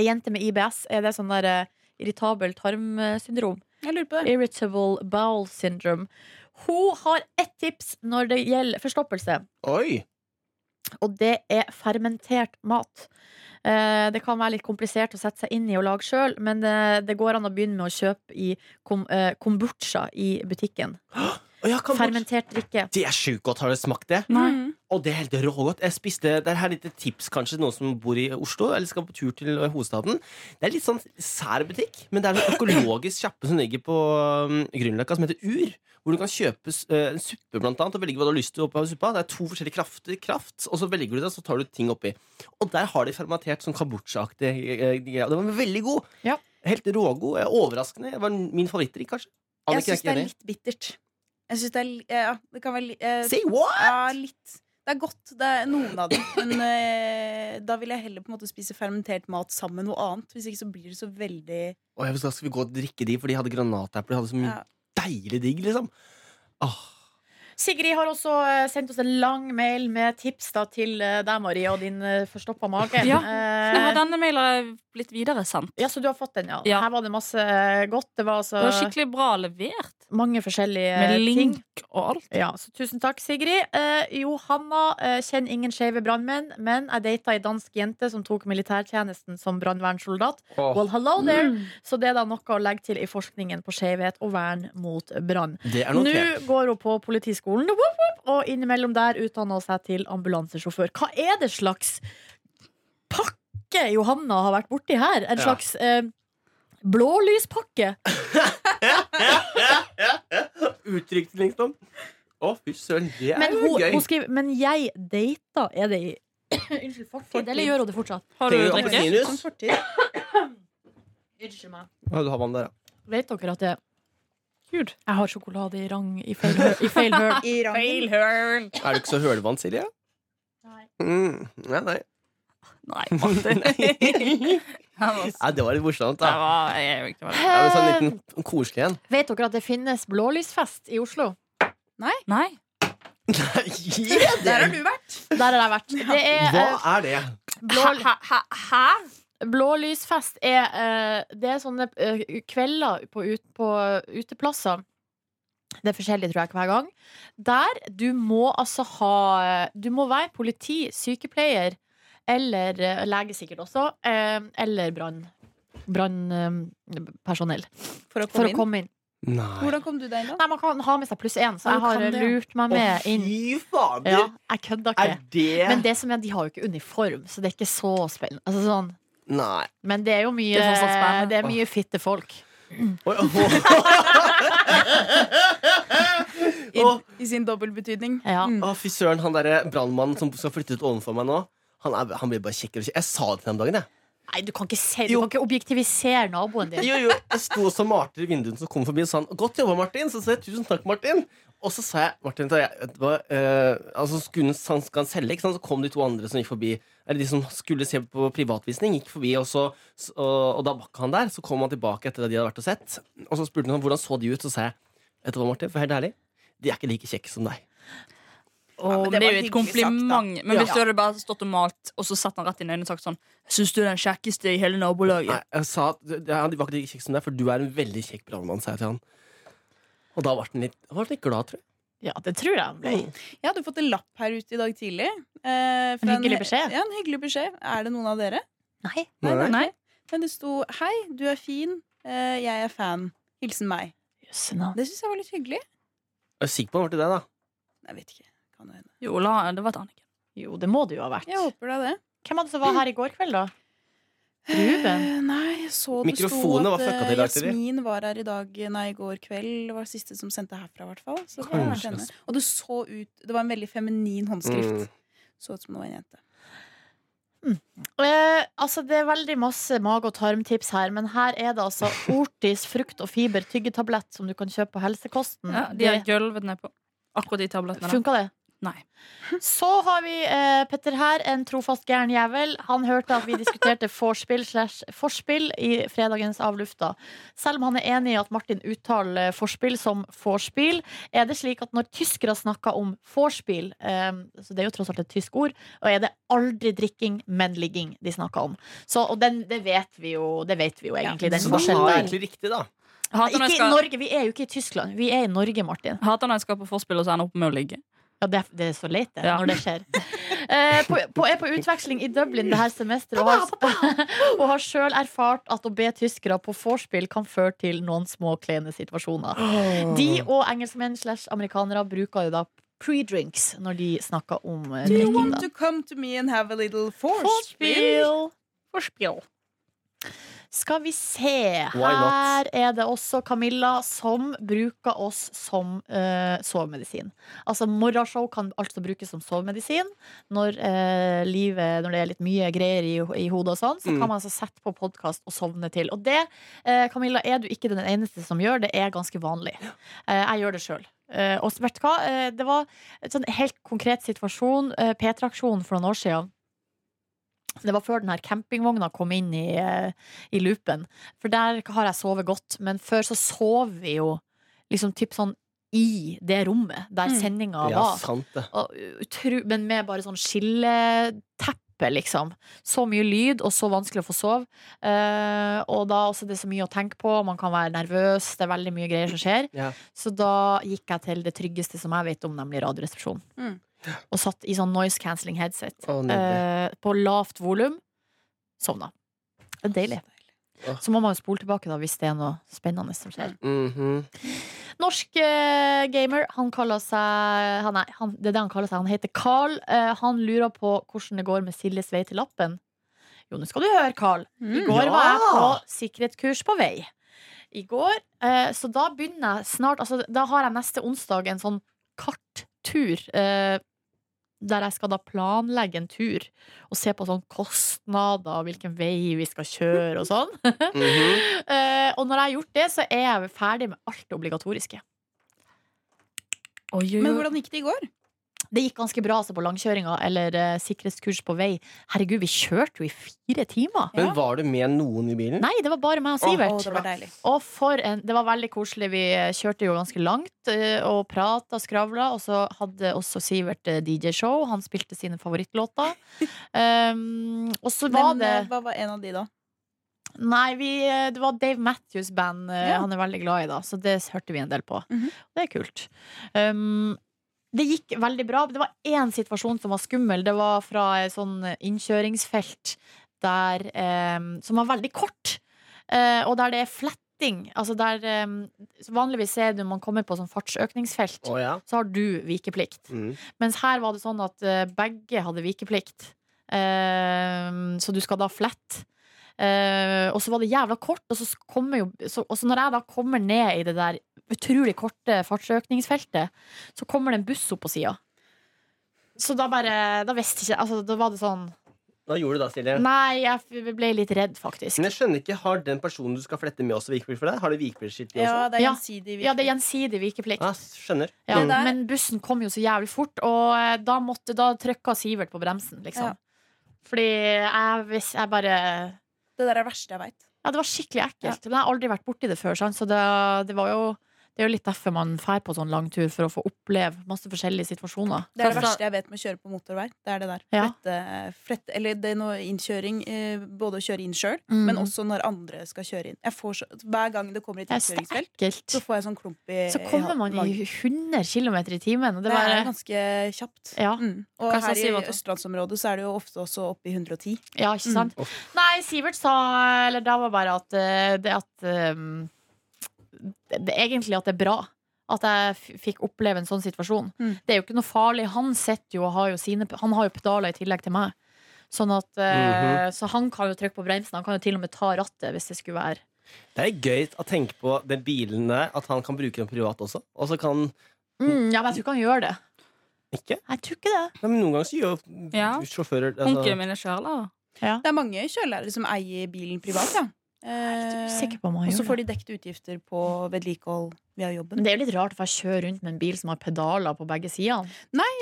Speaker 2: Ei jente med IBS, er det sånn der eh, irritabel tarmsyndrom?
Speaker 5: Jeg lurer på det.
Speaker 2: Irritable bowel syndrome. Hun har ett tips når det gjelder forstoppelse.
Speaker 4: Oi!
Speaker 2: og det er fermentert mat. Eh, Det kan være litt komplisert å sette seg inn i og lage sjøl, men eh, det går an å begynne med å kjøpe i kom, eh, kombucha i butikken.
Speaker 4: Og jeg kan bare-
Speaker 2: Fermentert drikke.
Speaker 4: det er sjukt godt. Har dere smakt det?
Speaker 5: Mm.
Speaker 4: Og det er helt rågodt. Jeg spiste, det er her litt et tips kanskje til noen som bor i Oslo eller skal på tur til hovedstaden. Det er litt sånn sær butikk, men det er en økologisk kjappe som ligger på um, Grünerløkka som heter Ur. Hvor du kan kjøpe s- eh, en suppe blant annet, og velge hva du har lyst til oppi av suppa. Det er to forskjellige krafter, kraft, og så velger du det, og så tar du ting oppi. Og der har de fermentert sånn kambodsjaaktig eh, greie. Den var veldig god.
Speaker 2: Ja.
Speaker 4: Helt rågod. eh, Overraskende. Det var min favorittdrikk, kanskje.
Speaker 5: Jeg
Speaker 4: Anniken,
Speaker 5: syns det
Speaker 4: ikke
Speaker 5: er
Speaker 4: enig?
Speaker 5: litt bittert. Jeg synes det er li- Ja, det kan være li- eh,
Speaker 4: Say what?
Speaker 5: Ja, litt. Det er godt, det er noen av dem. Men eh, da vil jeg heller på en måte spise fermentert mat sammen med noe annet. Hvis ikke så blir det så veldig
Speaker 4: Å, jeg skal, skal vi gå og drikke de, for de hadde granatapler. De hadde så mye
Speaker 5: Ja.
Speaker 4: deilig digg, liksom. Åh,
Speaker 2: Sigrid har også eh, sendt oss en lang mail med tips da, til eh, deg, Marie, og din eh, forstoppa mage.
Speaker 3: Ja.
Speaker 2: Eh,
Speaker 3: Jeg har denne mailen blitt videresendt.
Speaker 2: ja, så du har fått den, ja.
Speaker 3: Ja.
Speaker 2: Her var det masse eh, godt. Det var
Speaker 3: Det var
Speaker 2: altså
Speaker 3: skikkelig bra levert.
Speaker 2: mange forskjellige
Speaker 3: Med
Speaker 2: eh, ting.
Speaker 3: link og alt.
Speaker 2: Ja, så tusen takk, Sigrid. Eh, Johanna eh, kjenner ingen skeive brannmenn, men jeg data ei dansk jente som tok militærtjenesten som brannvernsoldat. Well, hello there!
Speaker 3: Mm.
Speaker 2: Så det er da noe å legge til i forskningen på skeivhet og vern mot brann.
Speaker 4: det er
Speaker 2: Nå
Speaker 4: notert.
Speaker 2: går hun på politiskolen whoop, whoop, og innimellom der utdanner hun seg til ambulansesjåfør. Hva er det slags pakke Johanna har vært borti her? En
Speaker 4: Ja.
Speaker 2: slags eh, blålyspakke?
Speaker 4: Uttrykte liksom. Å, fy søren, det er
Speaker 2: Men,
Speaker 4: jo
Speaker 2: hun,
Speaker 4: gøy.
Speaker 2: hun skriver, men jeg data Er det i Unnskyld, fortid? Eller gjør hun det fortsatt?
Speaker 3: Har du
Speaker 4: Trenger du
Speaker 3: drikke?
Speaker 4: appelsinjuice?
Speaker 5: Sånn fortid.
Speaker 2: Unnskyld meg.
Speaker 4: Ja, du har vann der, ja.
Speaker 2: Vet dere at jeg,
Speaker 3: Gud.
Speaker 2: jeg har sjokolade i rang i feil høl? I feil høl.
Speaker 5: I rangen.
Speaker 4: Er du ikke så hølvant, Silje?
Speaker 2: Nei.
Speaker 4: Mm. Nei, nei.
Speaker 3: Nei, Martin. Han var s-
Speaker 4: nei, det var litt morsomt,
Speaker 3: Det
Speaker 4: da.
Speaker 3: var- jeg er jo ikke med.
Speaker 4: Ja, men sånn liten koselig en.
Speaker 2: Vet dere at det finnes blålysfest i Oslo?
Speaker 3: Nei.
Speaker 4: Gi
Speaker 5: Der
Speaker 4: det!
Speaker 5: har du vært.
Speaker 2: Der har jeg vært. Det er
Speaker 4: Hva
Speaker 2: eh,
Speaker 4: er det?
Speaker 2: blå,
Speaker 3: Hæ? hæ- hæ?
Speaker 2: Blålysfest er, eh, det er sånne eh, kvelder på, ut, på uteplasser. Det er forskjellig, tror jeg, hver gang. Der du må altså ha Du må være politi, sykepleier eller eh, lege sikkert også, eh, eller brann. Brannpersonell.
Speaker 5: For
Speaker 2: For
Speaker 5: å komme
Speaker 2: å
Speaker 5: inn.
Speaker 2: komme inn.
Speaker 4: Nei.
Speaker 5: Hvordan kom du deg inn, da?
Speaker 2: Nei, man kan ha med seg pluss én, så
Speaker 5: Ja,
Speaker 2: jeg
Speaker 5: du
Speaker 2: har
Speaker 5: kan det, ja.
Speaker 2: lurt meg
Speaker 4: Å,
Speaker 2: med inn.
Speaker 4: fy fader!
Speaker 2: Ja, jeg kødder
Speaker 4: Er
Speaker 2: ikke.
Speaker 4: det
Speaker 2: Men det som er, de har jo ikke uniform, så det er ikke så spennende. Altså, sånn.
Speaker 4: Nei.
Speaker 2: Men det er jo mye,
Speaker 3: Det er fortsatt spennende.
Speaker 2: det er mye fitte folk.
Speaker 4: Oi, å,
Speaker 5: I,
Speaker 4: Åh.
Speaker 5: I sin dobbeltbetydning.
Speaker 2: Ja.
Speaker 5: Mm.
Speaker 4: å, fy søren, han derre brannmannen som skal flytte ut ovenfor meg nå, han, er, han blir bare kjekkere og kjekkere. Jeg sa det til ham om dagen, jeg.
Speaker 2: Nei, du kan ikke, se, du
Speaker 4: Jo.
Speaker 2: kan ikke objektivisere naboen din.
Speaker 4: Jo, jo, jeg sto og så malte i vinduet som kom forbi og sa han, 'Godt jobba, Martin'. Så sa jeg 'Tusen takk, Martin'. Og så sa jeg Martin, vet du hva, jeg, vet du hva, eh, altså, skulle han, han skal han selge, ikke sant? så kom de to andre som gikk forbi. Eller de som skulle se på privatvisning, gikk forbi, og, så, s- og, og da var ikke han der. Så kom han tilbake etter at de hadde vært og sett. Og så spurte han hvordan så de ut, så sa jeg Vet du hva, Martin, for helt ærlig, de er ikke like kjekke som deg.
Speaker 5: men
Speaker 3: Og
Speaker 5: det
Speaker 3: det er
Speaker 5: var
Speaker 3: jo et
Speaker 5: hyggelig sagt, da.
Speaker 3: kompliment. men
Speaker 4: Ja.
Speaker 3: hvis du hadde bare stått og malt, og så satt han rett inn i øynene og sagt sånn Syns du er den kjekkeste i hele
Speaker 4: Nei,
Speaker 3: nabolaget?
Speaker 4: jeg sa at ja, de var ikke like kjekke som deg, for du er en veldig kjekk brannmann, sa jeg til han. Og da ble han litt, han ble litt glad, tror jeg.
Speaker 2: Ja, det tror jeg han ble.
Speaker 5: Jeg hadde fått en lapp her ute i dag tidlig. eh, fra
Speaker 2: En hyggelig beskjed.
Speaker 5: Ja, en hyggelig beskjed. Er det noen av dere?
Speaker 2: Nei.
Speaker 4: Nei, nei.
Speaker 3: Nei.
Speaker 5: Men det sto 'Hei, du er fin. Eh, jeg er fan. Hilsen meg'.
Speaker 2: Jøsse navn.
Speaker 5: Det syns jeg var litt hyggelig.
Speaker 4: Jeg er sikker på han ble det, da.
Speaker 5: Jeg vet ikke. Kan det hende.
Speaker 3: Jo, la, det var et annet.
Speaker 2: Jo, det må det jo ha vært.
Speaker 5: Jeg håper da det.
Speaker 2: Hvem var det som var her i går kveld, da? Ruben?
Speaker 5: Eh, Nei, jeg så det sto
Speaker 4: Mikrofonene
Speaker 5: at
Speaker 4: var fucka
Speaker 5: eh,
Speaker 4: til i dag tidlig.
Speaker 5: Jasmin var her i dag Nei, i går kveld. Det var siste som sendte herfra, i hvert fall. Så det kan
Speaker 4: Kanskje.
Speaker 5: hende. Og det så ut Det var en veldig feminin
Speaker 4: Mm.
Speaker 5: håndskrift. Så ut som det var en jente.
Speaker 2: Eh, altså, det er veldig masse mage- og tarmtips her, men her er det altså Ortis frukt og fiber tyggetablett som du kan kjøpe på Helsekosten.
Speaker 3: Ja, de er gulvet nedpå. Akkurat de tablettene. der.
Speaker 2: Funka det?
Speaker 3: Nei.
Speaker 2: Så har vi eh, Petter her, en trofast gæren jævel. Han hørte at vi diskuterte vorspiel slash forspill i fredagens Avlufta. Selv om han er enig i at Martin uttaler eh, forspill som vorspiel, er det slik at når tyskere snakker om vorspiel, eh, så det er jo tross alt et tysk ord, og er det aldri drikking, men ligging de snakker om. Så, og den, det vet vi jo, det vet vi jo egentlig, den
Speaker 4: Så da
Speaker 2: forskjellen
Speaker 4: har jeg
Speaker 2: der.
Speaker 4: egentlig riktig, da.
Speaker 3: Jeg
Speaker 2: Ikke
Speaker 3: Hater når jeg
Speaker 2: i
Speaker 3: skal,
Speaker 2: Norge, vi er jo ikke i Tyskland. Vi er i Norge, Martin.
Speaker 3: hater når jeg skal på forspill og så ender opp med å ligge.
Speaker 2: Ja, det, er- det er så leit det,
Speaker 3: Ja.
Speaker 2: når det skjer. Eh, på, på, er på utveksling i Dublin det her semesteret og har, og har sjøl erfart at å be tyskere på vorspiel kan føre til noen små, kleine situasjoner. De og engelskmenn slash amerikanere bruker jo da pre-drinks når de snakker om eh,
Speaker 5: Do you
Speaker 2: drikking.
Speaker 5: want
Speaker 2: da.
Speaker 5: to come to me and have a little forspiel?
Speaker 2: Vorspiel! Vorspiel. Skal vi se.
Speaker 4: Why not?
Speaker 2: Her er det også Camilla som bruker oss som eh, sovemedisin. Altså Morgenshow kan altså brukes som sovemedisin. Når, eh, livet, når det er litt mye greier i, i hodet og sånn, så
Speaker 4: Mm.
Speaker 2: kan man altså sette på podkast og sovne til. Og det, eh, Camilla, er du ikke den eneste som gjør. Det er ganske vanlig. Eh, jeg gjør det sjøl. og vet du hva? Eh, det var en sånn helt konkret situasjon. eh, P3-aksjonen for noen år siden. Det var før den her campingvogna kom inn i, eh, i loopen. For der har jeg sovet godt, men før så sov vi jo liksom typ sånn i det rommet der
Speaker 5: Mm.
Speaker 2: sendinga
Speaker 4: Ja,
Speaker 2: var.
Speaker 4: sant det.
Speaker 2: Og utru- men med bare sånn skilleteppe, liksom. Så mye lyd, og så vanskelig å få sove. Eh, og da også det er så mye å tenke på, man kan være nervøs, det er veldig mye greier som skjer.
Speaker 4: Ja.
Speaker 2: Så da gikk jeg til det tryggeste som jeg vet om, nemlig Radioresepsjonen.
Speaker 5: Mm.
Speaker 2: Og satt i sånn noise cancelling headset.
Speaker 4: Å, nydelig.
Speaker 2: Eh, på lavt volum. Sovna. Det er deilig.
Speaker 4: Åh.
Speaker 2: Så må man jo spole tilbake da hvis det er noe spennende som skjer.
Speaker 4: Mhm.
Speaker 2: Mm. Norsk eh, gamer, han kaller seg han er, han, Det er det han kaller seg. Han heter Carl. Eh, han lurer på hvordan det går med Siljes vei til lappen. Jo, nå skal du høre, Carl. I
Speaker 5: Mm.
Speaker 2: går
Speaker 4: Ja!
Speaker 2: var jeg på sikkerhetskurs på vei. I går. Eh, så da begynner jeg snart altså, Da har jeg neste onsdag en sånn karttur. Eh, der jeg skal da planlegge en tur og se på sånn kostnader og hvilken vei vi skal kjøre og sånn.
Speaker 4: Mhm.
Speaker 2: Eh, og når jeg har gjort det, så er jeg ferdig med alt det obligatoriske.
Speaker 3: Oi, oi, oi.
Speaker 5: Men hvordan gikk det i går?
Speaker 2: Det gikk ganske bra altså, på langkjøringa eller eh, sikkerhetskurs på vei. Herregud, vi kjørte jo i fire timer!
Speaker 4: Men var du med noen i bilen?
Speaker 2: Nei, det var bare meg og Sivert.
Speaker 5: Å, det var deilig.
Speaker 2: Og for en, det var veldig koselig. Vi kjørte jo ganske langt eh, og prata og skravla. Og så hadde også Sivert eh, DJ-show. Han spilte sine favorittlåter. Um, og så var
Speaker 5: Men,
Speaker 2: det
Speaker 5: eh, hva var en av de, da?
Speaker 2: Nei, vi, eh, det var Dave Matthews Band eh,
Speaker 5: Ja.
Speaker 2: han er veldig glad i, da. Så det hørte vi en del på.
Speaker 5: Mhm.
Speaker 2: Det er kult. Um, det gikk veldig bra. Det var én situasjon som var skummel. Det var fra et sånn innkjøringsfelt der, em, som var veldig kort, eh, og der det er fletting. Altså der, em, så vanligvis er det når man kommer på sånn fartsøkningsfelt,
Speaker 4: Å, ja.
Speaker 2: så har du vikeplikt.
Speaker 4: Mm.
Speaker 2: Mens her var det sånn at eh, begge hadde vikeplikt. Ehm, så du skal da flette. Eh, og så var det jævla kort, og så, s- kommer jo, så, og så når jeg da kommer ned i det der utrolig korte fartsøkningsfeltet, så kommer det en buss opp på sida. Så da bare Da visste ikke jeg altså, Da var det sånn
Speaker 4: Hva gjorde du da, Silje?
Speaker 2: Nei, jeg f- ble litt redd, faktisk.
Speaker 4: Men jeg skjønner ikke, Har den personen du skal flette med, også vikeplikt for deg? Har du vikeplikt også?
Speaker 5: Ja, det er
Speaker 2: Ja.
Speaker 5: gjensidig.
Speaker 2: Ja, det er gjensidig vikeplikt.
Speaker 4: Ah, skjønner.
Speaker 2: Ja,
Speaker 5: Det der-
Speaker 2: men bussen kom jo så jævlig fort, og eh, da, måtte, da trykka Sivert på bremsen, liksom.
Speaker 5: Ja.
Speaker 2: Fordi jeg, hvis jeg bare
Speaker 5: Det der er det verste jeg veit.
Speaker 2: Ja, det var skikkelig ekkelt. Men jeg har aldri vært borti det før, sant? så det, det var jo det er jo litt derfor man drar på sånn lang tur, for å få oppleve masse forskjellige situasjoner.
Speaker 5: Det er det
Speaker 3: Fast da-
Speaker 5: verste jeg vet med å kjøre på motorvei. Det er det der.
Speaker 2: Ja.
Speaker 5: Flette, flette, eller det er noe innkjøring, eh, både å kjøre inn sjøl,
Speaker 2: Mm.
Speaker 5: men også når andre skal kjøre inn. Jeg får så, hver gang det kommer et
Speaker 2: Det er så
Speaker 5: innkjøringsfelt,
Speaker 2: ekkelt.
Speaker 5: så får jeg sånn klump i
Speaker 2: Så kommer man i
Speaker 5: magen.
Speaker 2: 100 km i timen, og
Speaker 5: Det
Speaker 2: det
Speaker 5: er
Speaker 2: bare
Speaker 5: ganske kjapt.
Speaker 2: Ja.
Speaker 5: Mm. Og
Speaker 3: Hva sa
Speaker 5: her i
Speaker 3: Sivert da?
Speaker 5: østlandsområdet så er det jo ofte også oppe i 110.
Speaker 2: Ja, ikke sant? Nei, Sivert sa Eller da var bare at eh, det at um, det, det, Egentlig at det er bra. At jeg f- fikk oppleve en sånn situasjon.
Speaker 5: Mm.
Speaker 2: Det er jo ikke noe farlig. Han sitter jo og har jo sine Han har jo pedaler i tillegg til meg. Sånn at eh, Så han kan jo trykke på bremsen. Han kan jo til og med ta rattet hvis det skulle være
Speaker 4: Det er gøy å tenke på den bilen der, at han kan bruke den privat også. Og så kan
Speaker 2: mm, Ja, men jeg tror ikke han gjør det.
Speaker 4: ikke.
Speaker 2: Jeg tror ikke det.
Speaker 4: Nei, men noen ganger så gjør
Speaker 3: Ja.
Speaker 4: sjåfører altså-
Speaker 3: Onkelen min er kjærlærer.
Speaker 5: Det er mange kjørelærere som eier bilen privat, ja.
Speaker 2: Jeg er
Speaker 5: Eh,
Speaker 2: Sikker på om han
Speaker 5: og så
Speaker 2: gjør det.
Speaker 5: får de dekket utgifter på vedlikehold via jobben.
Speaker 2: Men det er jo litt rart, for jeg kjører rundt med en bil som har pedaler på begge sider.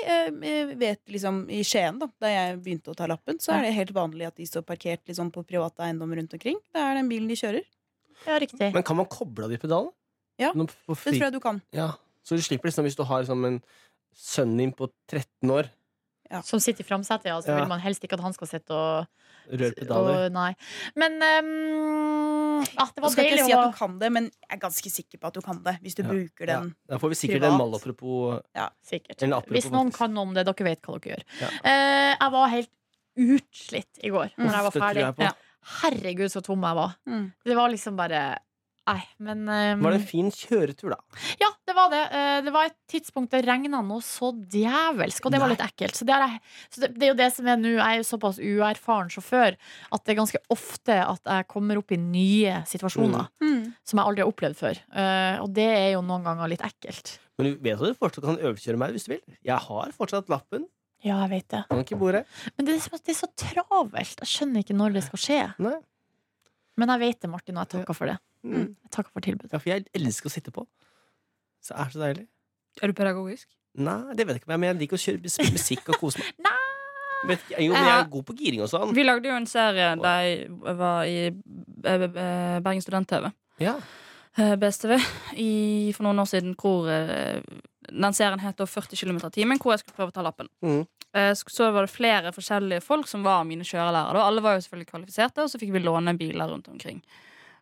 Speaker 5: Eh, Jeg vet liksom I Skien, da da jeg begynte å ta lappen, så er det helt vanlig at de står parkert liksom, på private eiendommer rundt omkring. Det er den bilen de kjører.
Speaker 2: Ja, riktig.
Speaker 4: Men kan man koble av de pedalene?
Speaker 5: Ja,
Speaker 4: Nå på
Speaker 5: Det
Speaker 4: fri-
Speaker 5: tror jeg du kan.
Speaker 4: ja. Så du slipper liksom hvis du har liksom, en sønnen din på 13 år,
Speaker 2: Som sitter i framsetet, ja. Så
Speaker 4: Ja.
Speaker 2: vil man helst ikke at han skal sitte og
Speaker 4: rør pedaler.
Speaker 2: Og, nei. Men ehm, at det
Speaker 5: Du
Speaker 2: var
Speaker 5: skal
Speaker 2: deilig
Speaker 5: ikke si at
Speaker 2: å
Speaker 5: du kan det, men jeg er ganske sikker på at du kan det. Hvis du
Speaker 4: Ja.
Speaker 5: bruker den.
Speaker 4: Da får vi sikkert
Speaker 5: Privat.
Speaker 4: en mall apropos
Speaker 2: Sikkert.
Speaker 4: Eller apropos,
Speaker 2: Hvis noen
Speaker 4: faktisk.
Speaker 2: kan noe om det, dere vet hva dere gjør.
Speaker 4: Ja.
Speaker 2: Eh, jeg var helt utslitt i går
Speaker 5: Mm.
Speaker 2: når jeg
Speaker 4: Uff,
Speaker 2: var
Speaker 4: det tror
Speaker 2: ferdig.
Speaker 4: jeg på.
Speaker 3: Ja.
Speaker 2: Herregud, så tom jeg var.
Speaker 5: Mm.
Speaker 2: Det var liksom bare Nei, men ehm,
Speaker 4: Var det en fin kjøretur, da?
Speaker 2: Ja, det var det. Eh, Det var et tidspunkt det regna noe så djevelsk, og det var
Speaker 4: Nei.
Speaker 2: litt ekkelt. Så det, er, jeg- så det, det er jo det som er nå. Jeg er jo såpass uerfaren sjåfør at det er ganske ofte at jeg kommer opp i nye situasjoner
Speaker 5: Mm.
Speaker 2: som jeg aldri har opplevd før. Eh, Og det er jo noen ganger litt ekkelt.
Speaker 4: Men du vet at du fortsatt kan øvelseskjøre meg hvis du vil? Jeg har fortsatt lappen.
Speaker 2: Ja, jeg vet det.
Speaker 4: Kan ikke bordet.
Speaker 2: Men det er, så, det er så travelt. Jeg skjønner ikke når det skal skje.
Speaker 4: Nei.
Speaker 2: Men jeg vet det, Martin, og jeg takker for det.
Speaker 4: Mm.
Speaker 2: Jeg takker for tilbudet.
Speaker 4: Ja, for jeg elsker å sitte på. Så er det så deilig.
Speaker 3: Er du pedagogisk?
Speaker 4: Nei, det vet jeg ikke, men jeg liker å kjøre spille musikk og kose meg.
Speaker 2: Nei.
Speaker 4: Vet ikke, jo, men jeg er god på giring og sånn.
Speaker 3: Vi lagde jo en serie da jeg var i eh, eh, Bergen Student-TV.
Speaker 4: Ja.
Speaker 3: eh, BSTV i, for noen år siden hvor eh, den serien het da 40 km i timen, hvor jeg skulle prøve å ta lappen.
Speaker 4: Mm.
Speaker 3: Eh, sk- Så var det flere forskjellige folk som var mine kjørelærere. da. Alle var jo selvfølgelig kvalifiserte, og så fikk vi låne biler rundt omkring.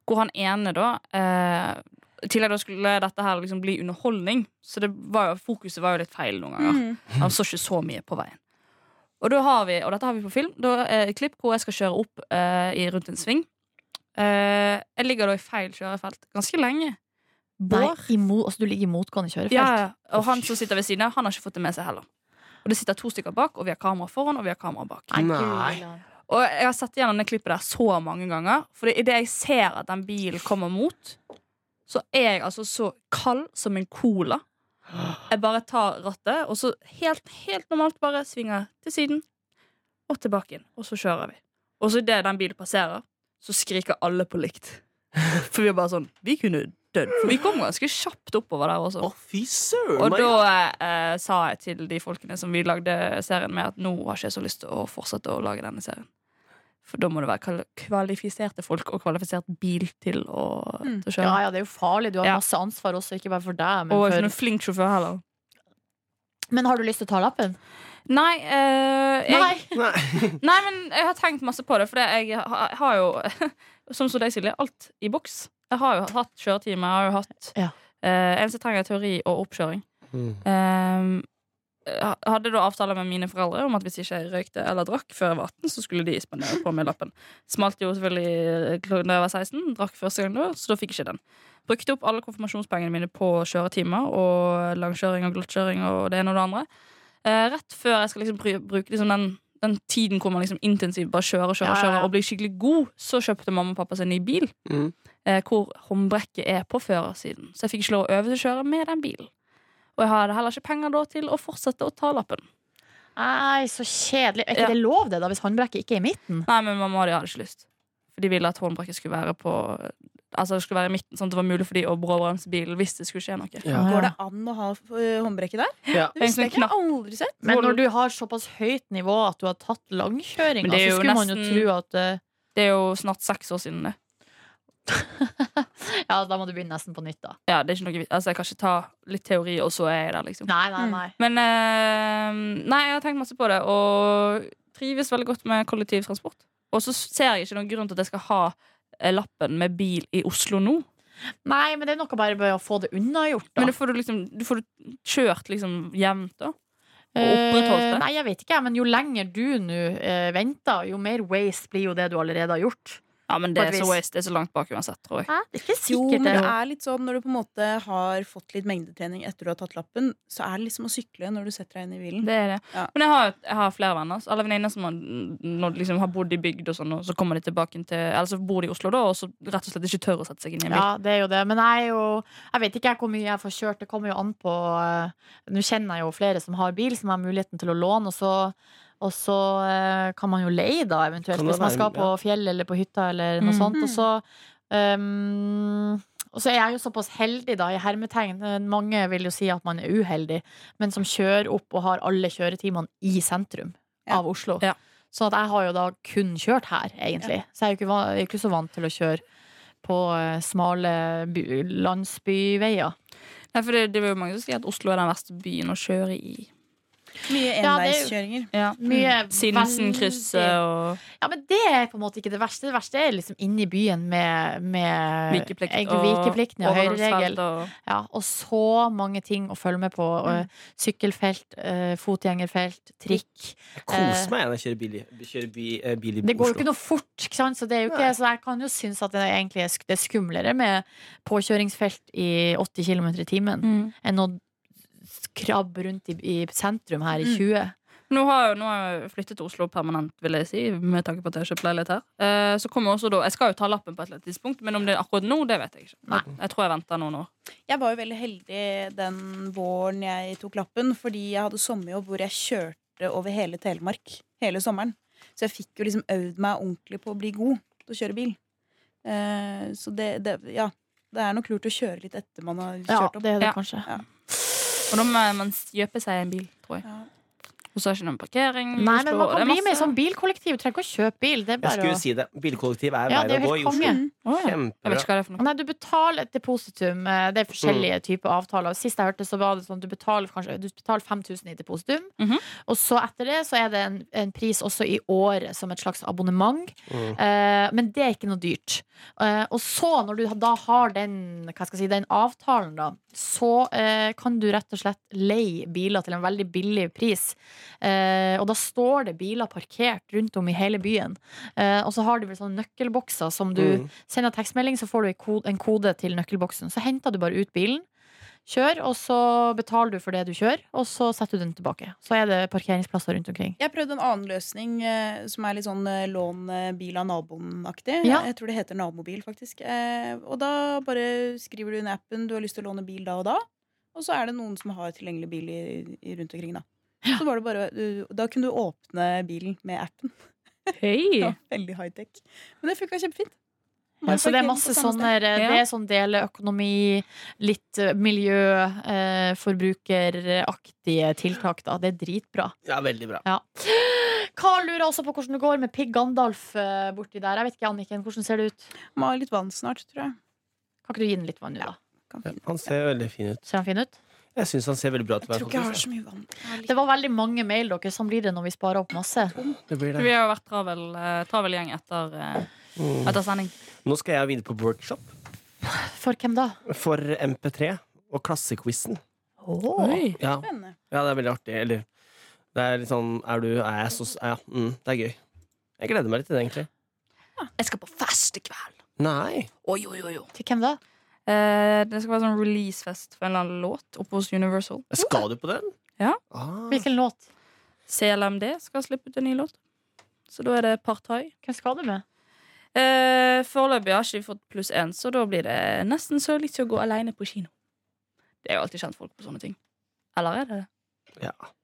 Speaker 3: Hvor han ene, da eh, Tidligere da skulle dette her liksom bli underholdning, så det var jo, fokuset var jo litt feil noen ganger.
Speaker 5: Mm.
Speaker 3: Han så ikke så mye på veien. Og, da har vi, og dette har vi på film. Da er et klipp hvor jeg skal kjøre opp eh, i, rundt en sving. Eh, jeg ligger da i feil kjørefelt ganske lenge.
Speaker 2: Nei,
Speaker 3: Bård
Speaker 2: imot, altså, du ligger i motgående kjørefelt.
Speaker 3: ja, ja. Og han som sitter ved siden av, han har ikke fått det med seg heller. Og det sitter to stykker bak, og vi har kamera foran, og vi har kamera bak.
Speaker 2: Nei,
Speaker 4: Nei.
Speaker 2: gud, Lan.
Speaker 3: Og jeg har sett igjennom det klippet der så mange ganger. For idet jeg ser at den bilen kommer mot, så er jeg altså så kald som en cola. Jeg bare tar rattet, og så helt, helt normalt bare svinger til siden og tilbake inn. Og så kjører vi. Og så idet den bilen passerer, så skriker alle på likt. For vi er bare sånn Vi kunne dødd. For vi kom ganske kjapt oppover der også.
Speaker 4: Å, fy søren!
Speaker 3: Og
Speaker 4: Maria.
Speaker 3: da eh, sa jeg til de folkene som vi lagde serien med, at nå har ikke jeg så lyst til å fortsette å lage denne serien. For da må det være kal- kvalifiserte folk og kvalifisert bil til å,
Speaker 5: Mm.
Speaker 3: til å
Speaker 2: Ja,
Speaker 3: kjøre.
Speaker 2: ja, det er jo farlig. Du har
Speaker 3: Ja.
Speaker 2: masse ansvar også, ikke bare for deg. Men,
Speaker 3: Og sånn- jeg er ikke
Speaker 2: for...
Speaker 3: noen flink sjåfør heller.
Speaker 2: men har du lyst til å ta lappen?
Speaker 3: Nei, eh, jeg,
Speaker 2: Nei!
Speaker 4: Nei.
Speaker 3: Nei, men jeg har tenkt masse på det, for jeg har, har jo, som så deg, Silje, alt i boks. Jeg har jo hatt kjøretime, jeg har jo hatt
Speaker 2: Ja.
Speaker 3: eh, Eneste jeg trenger, er teori og oppkjøring.
Speaker 4: Mm.
Speaker 3: Ehm, jeg hadde da avtale med mine foreldre om at hvis ikke jeg røykte eller drakk før jeg var 18, så skulle de spandere på meg lappen. Smalt jo selvfølgelig eh, kl- da jeg var 16, drakk første gang da, så da fikk jeg ikke den. Brukte opp alle konfirmasjonspengene mine på kjøretimer og langkjøring og glottkjøring og det ene og det andre. Eh, rett før jeg skal liksom bry- bruke liksom den, den tiden hvor man liksom intensivt bare kjører kjører,
Speaker 2: Ja, ja, ja.
Speaker 3: kjører og blir skikkelig god, så kjøpte mamma og pappa seg en ny bil
Speaker 4: Mm.
Speaker 3: eh, hvor håndbrekket er på førersiden. Så jeg fikk ikke lov å øve til å kjøre med den bilen. Og jeg hadde heller ikke penger da til å fortsette å ta lappen.
Speaker 2: Nei, så kjedelig. Er ikke
Speaker 3: Ja.
Speaker 2: det lov, det, da, hvis håndbrekket ikke er i midten?
Speaker 3: Nei, men mamma og de hadde ikke lyst. For de ville at håndbrekket skulle være på Altså det skulle være i midten, sånn at det var mulig for de å bråbremse bilen hvis det skulle skje noe.
Speaker 4: Ja.
Speaker 5: Går det an å ha eh, håndbrekket der?
Speaker 4: Ja.
Speaker 5: Det visste
Speaker 3: Egentlig
Speaker 5: jeg ikke. Jeg har aldri sett.
Speaker 2: sånn Men når du har såpass høyt nivå at du har tatt langkjøringa,
Speaker 3: Men det er
Speaker 2: så
Speaker 3: jo
Speaker 2: skulle man jo
Speaker 3: nesten-
Speaker 2: tro at eh,
Speaker 3: Det er jo snart seks år siden det.
Speaker 2: Ja, da må du begynne nesten på nytt, da.
Speaker 3: Ja, det er ikke noe vits. Altså, jeg kan ikke ta litt teori, og så er jeg der, liksom.
Speaker 2: Nei, nei,
Speaker 5: Mm.
Speaker 2: nei.
Speaker 3: Men eh, nei, jeg har tenkt masse på det, og trives veldig godt med kollektivtransport. Og så ser jeg ikke noen grunn til at jeg skal ha eh, lappen med bil i Oslo nå.
Speaker 2: Nei, men det er noe bare med å få det unnagjort, da.
Speaker 3: Men da får du liksom Du får du kjørt liksom jevnt, da. Og opprettholdt
Speaker 2: Eh,
Speaker 3: det.
Speaker 2: nei, jeg vet ikke, jeg, men jo lenger du nå eh, venter, jo mer waste blir jo det du allerede har gjort.
Speaker 3: Ja, men
Speaker 2: På et
Speaker 3: det er så
Speaker 2: vis.
Speaker 3: waste. Det er så langt bak uansett, tror jeg.
Speaker 2: Det er ikke
Speaker 5: Jo, men
Speaker 2: sikkert
Speaker 5: det
Speaker 2: det.
Speaker 5: er litt sånn når du på en måte har fått litt mengdetrening etter du har tatt lappen, så er det liksom å sykle når du setter deg inn i bilen.
Speaker 3: Det er det.
Speaker 5: Ja.
Speaker 3: Men jeg har, jeg har flere venner. så Alle venninner som har, når de liksom har bodd i bygd, og sånn Og så kommer de tilbake til Eller så bor de i Oslo, da, og så rett og slett ikke tør å sette seg inn i en bil.
Speaker 2: Ja, det er jo det. Men jeg er jo Jeg vet ikke jeg hvor mye jeg får kjørt. Det kommer jo an på eh, Nå kjenner jeg jo flere som har bil, som har muligheten til å låne, og så, og så eh, kan man jo leie, da, eventuelt,
Speaker 4: Kan det
Speaker 2: hvis man
Speaker 4: være-
Speaker 2: skal på
Speaker 4: ja.
Speaker 2: fjell eller på hytta eller noe
Speaker 3: Mm.
Speaker 2: sånt. Og så
Speaker 3: Mhm.
Speaker 2: ehm, og så er jeg jo såpass heldig, da, i hermetegn. Eh, Mange vil jo si at man er uheldig, men som kjører opp og har alle kjøretimene i sentrum
Speaker 5: Ja.
Speaker 2: av Oslo.
Speaker 3: Ja.
Speaker 2: Sånn at jeg har jo da kun kjørt her, egentlig. Så jeg er jo ikke, van, jeg er ikke så vant til å kjøre på eh, smale bu- landsbyveier.
Speaker 3: Nei, for det, det er jo mange som sier at Oslo er den verste byen å kjøre i.
Speaker 5: Mye
Speaker 2: Ja, det er jo-
Speaker 5: enveiskjøringer.
Speaker 3: Ja.
Speaker 2: Mye
Speaker 3: Mm. Sinsenkrysset
Speaker 2: veldig-
Speaker 3: og
Speaker 2: Ja, men det er på en måte ikke det verste. Det verste er liksom inni byen med, med
Speaker 3: vikeplikt.
Speaker 2: egentlig
Speaker 3: og
Speaker 2: Eh, vikeplikten, ja, høyreregel.
Speaker 3: overholdsfelt og-
Speaker 2: Ja, og så mange ting å følge med på. og, Sykkelfelt, eh, fotgjengerfelt, trikk.
Speaker 4: Jeg koser meg når jeg kjører bil, i- kjører bi, eh, bil i
Speaker 2: Det går jo
Speaker 4: Oslo.
Speaker 2: ikke noe fort, ikke sant? Så, det er jo ikke,
Speaker 4: Nei.
Speaker 2: så jeg kan jo synes at det er egentlig er sk- det er skumlere med påkjøringsfelt i 80 km i timen
Speaker 3: Mm.
Speaker 2: enn å krabbe rundt i, i sentrum her i
Speaker 5: Mm.
Speaker 2: 20.
Speaker 3: Nå har, nå har jeg flyttet til Oslo permanent, vil jeg si, med tanke på at jeg har kjøpt leilighet her. Eh, så kommer også da, Jeg skal jo ta lappen på et eller annet tidspunkt, men om det er akkurat nå, det vet jeg ikke.
Speaker 2: Nei.
Speaker 3: Jeg tror jeg venter noen år.
Speaker 5: Jeg var jo veldig heldig den våren jeg tok lappen, fordi jeg hadde sommerjobb hvor jeg kjørte over hele Telemark hele sommeren. Så jeg fikk jo liksom øvd meg ordentlig på å bli god til å kjøre bil. Eh, så det, det Ja. Det er nok lurt å kjøre litt etter man har
Speaker 2: Ja,
Speaker 5: kjørt opp.
Speaker 2: det er det
Speaker 3: Ja.
Speaker 2: kanskje.
Speaker 3: Og da må man kjøpe seg en bil, tror jeg.
Speaker 5: Ja.
Speaker 3: Og så er det ikke noen parkering. i
Speaker 2: Nei,
Speaker 3: Mm, Oslo,
Speaker 2: men
Speaker 3: og
Speaker 2: man
Speaker 3: det er
Speaker 2: kan bli med i
Speaker 3: masse-
Speaker 2: sånn bilkollektiv. Du trenger ikke å kjøpe bil. Det er
Speaker 4: Jeg
Speaker 2: bare
Speaker 4: skulle
Speaker 2: å
Speaker 4: si det. Bilkollektiv er
Speaker 2: Ja,
Speaker 4: veien
Speaker 2: det er
Speaker 4: å
Speaker 2: jo
Speaker 4: gå i
Speaker 2: helt
Speaker 4: Oslo.
Speaker 2: konge.
Speaker 3: Å, ja. Jeg vet
Speaker 4: Kjempebra.
Speaker 3: ikke hva det er for noe. Mm.
Speaker 2: Nei, du betaler et depositum. eh, Det er forskjellige typer avtaler. Sist jeg hørte, så var det sånn at du betaler kanskje du betaler 5000 i depositum.
Speaker 3: Mhm.
Speaker 2: Og så etter det så er det en, en pris også i året som et slags abonnement.
Speaker 4: Mm.
Speaker 2: Eh, men det er ikke noe dyrt. Eh, og så, når du da har den, hva skal jeg si, den avtalen, da, så eh, kan du rett og slett leie biler til en veldig billig pris. Eh, og da står det biler parkert rundt om i hele byen. Eh, og så har de vel sånne nøkkelbokser som du
Speaker 4: Mm.
Speaker 2: Sender tekstmelding, så får du en ko- en kode til nøkkelboksen. Så henter du bare ut bilen, kjør, og så betaler du for det du kjører, og så setter du den tilbake. Så er det parkeringsplasser rundt omkring.
Speaker 5: Jeg prøvde en annen løsning eh, som er litt sånn eh, lån eh, bil av naboen-aktig.
Speaker 2: Ja.
Speaker 5: Jeg tror det heter nabobil, faktisk. Eh, og da bare skriver du inn i appen du har lyst til å låne bil da og da, og så er det noen som har tilgjengelig bil i, i rundt omkring, da. Så var det bare, du, da kunne du åpne bilen med appen.
Speaker 3: Hei.
Speaker 5: Ja, veldig high-tech. Men det funka kjempefint.
Speaker 2: Ja, så det er masse sånne Det er sånn deleøkonomi, litt eh, miljø, eh, forbrukeraktige tiltak, da. Det er dritbra.
Speaker 4: Ja, veldig bra.
Speaker 2: Karl lurer også på hvordan det går med Pig Gandalf eh, borti der. Jeg vet ikke, Anniken, hvordan ser det ut?
Speaker 5: Må ha litt vann snart, tror jeg.
Speaker 2: Kan ikke du gi den litt vann nå, da?
Speaker 5: Kan
Speaker 4: Ja,
Speaker 5: finne.
Speaker 4: han ser veldig fin ut.
Speaker 2: Ser han fin ut?
Speaker 4: Jeg syns han ser veldig bra ut.
Speaker 5: Jeg tror ikke jeg har så mye vann. Jeg har litt-
Speaker 2: Det var veldig mange mail, dere. Sånn blir det når vi sparer opp masse.
Speaker 4: Det blir
Speaker 3: Vi
Speaker 4: det.
Speaker 3: har jo vært travel, eh, travel gjeng etter, eh,
Speaker 4: Mm.
Speaker 3: etter sending.
Speaker 4: Nå skal jeg videre på workshop
Speaker 2: For hvem da?
Speaker 4: for MP3 og klassequizen.
Speaker 3: Oi.
Speaker 4: Ja.
Speaker 5: Spennende.
Speaker 4: ja, det er veldig artig. Eller det er litt sånn Er du er jeg så Ja, mm, det er gøy. Jeg gleder meg litt til det, egentlig.
Speaker 3: Jeg skal på fest i kveld.
Speaker 4: Nei.
Speaker 3: Oi, oi, oi, oi.
Speaker 2: Til hvem da?
Speaker 3: Eh, det skal være sånn releasefest for en eller annen låt oppe hos Universal.
Speaker 4: Skal du på den?
Speaker 3: Ja.
Speaker 4: Ah.
Speaker 2: Hvilken låt?
Speaker 3: CLMD skal slippe ut en ny låt. Så da er det Partai.
Speaker 2: Hvem skal du med?
Speaker 3: Eh, Foreløpig har ikke vi fått pluss én, så da blir det nesten så likt som å gå aleine på kino. Det er jo alltid kjent folk på sånne ting. Eller er det det?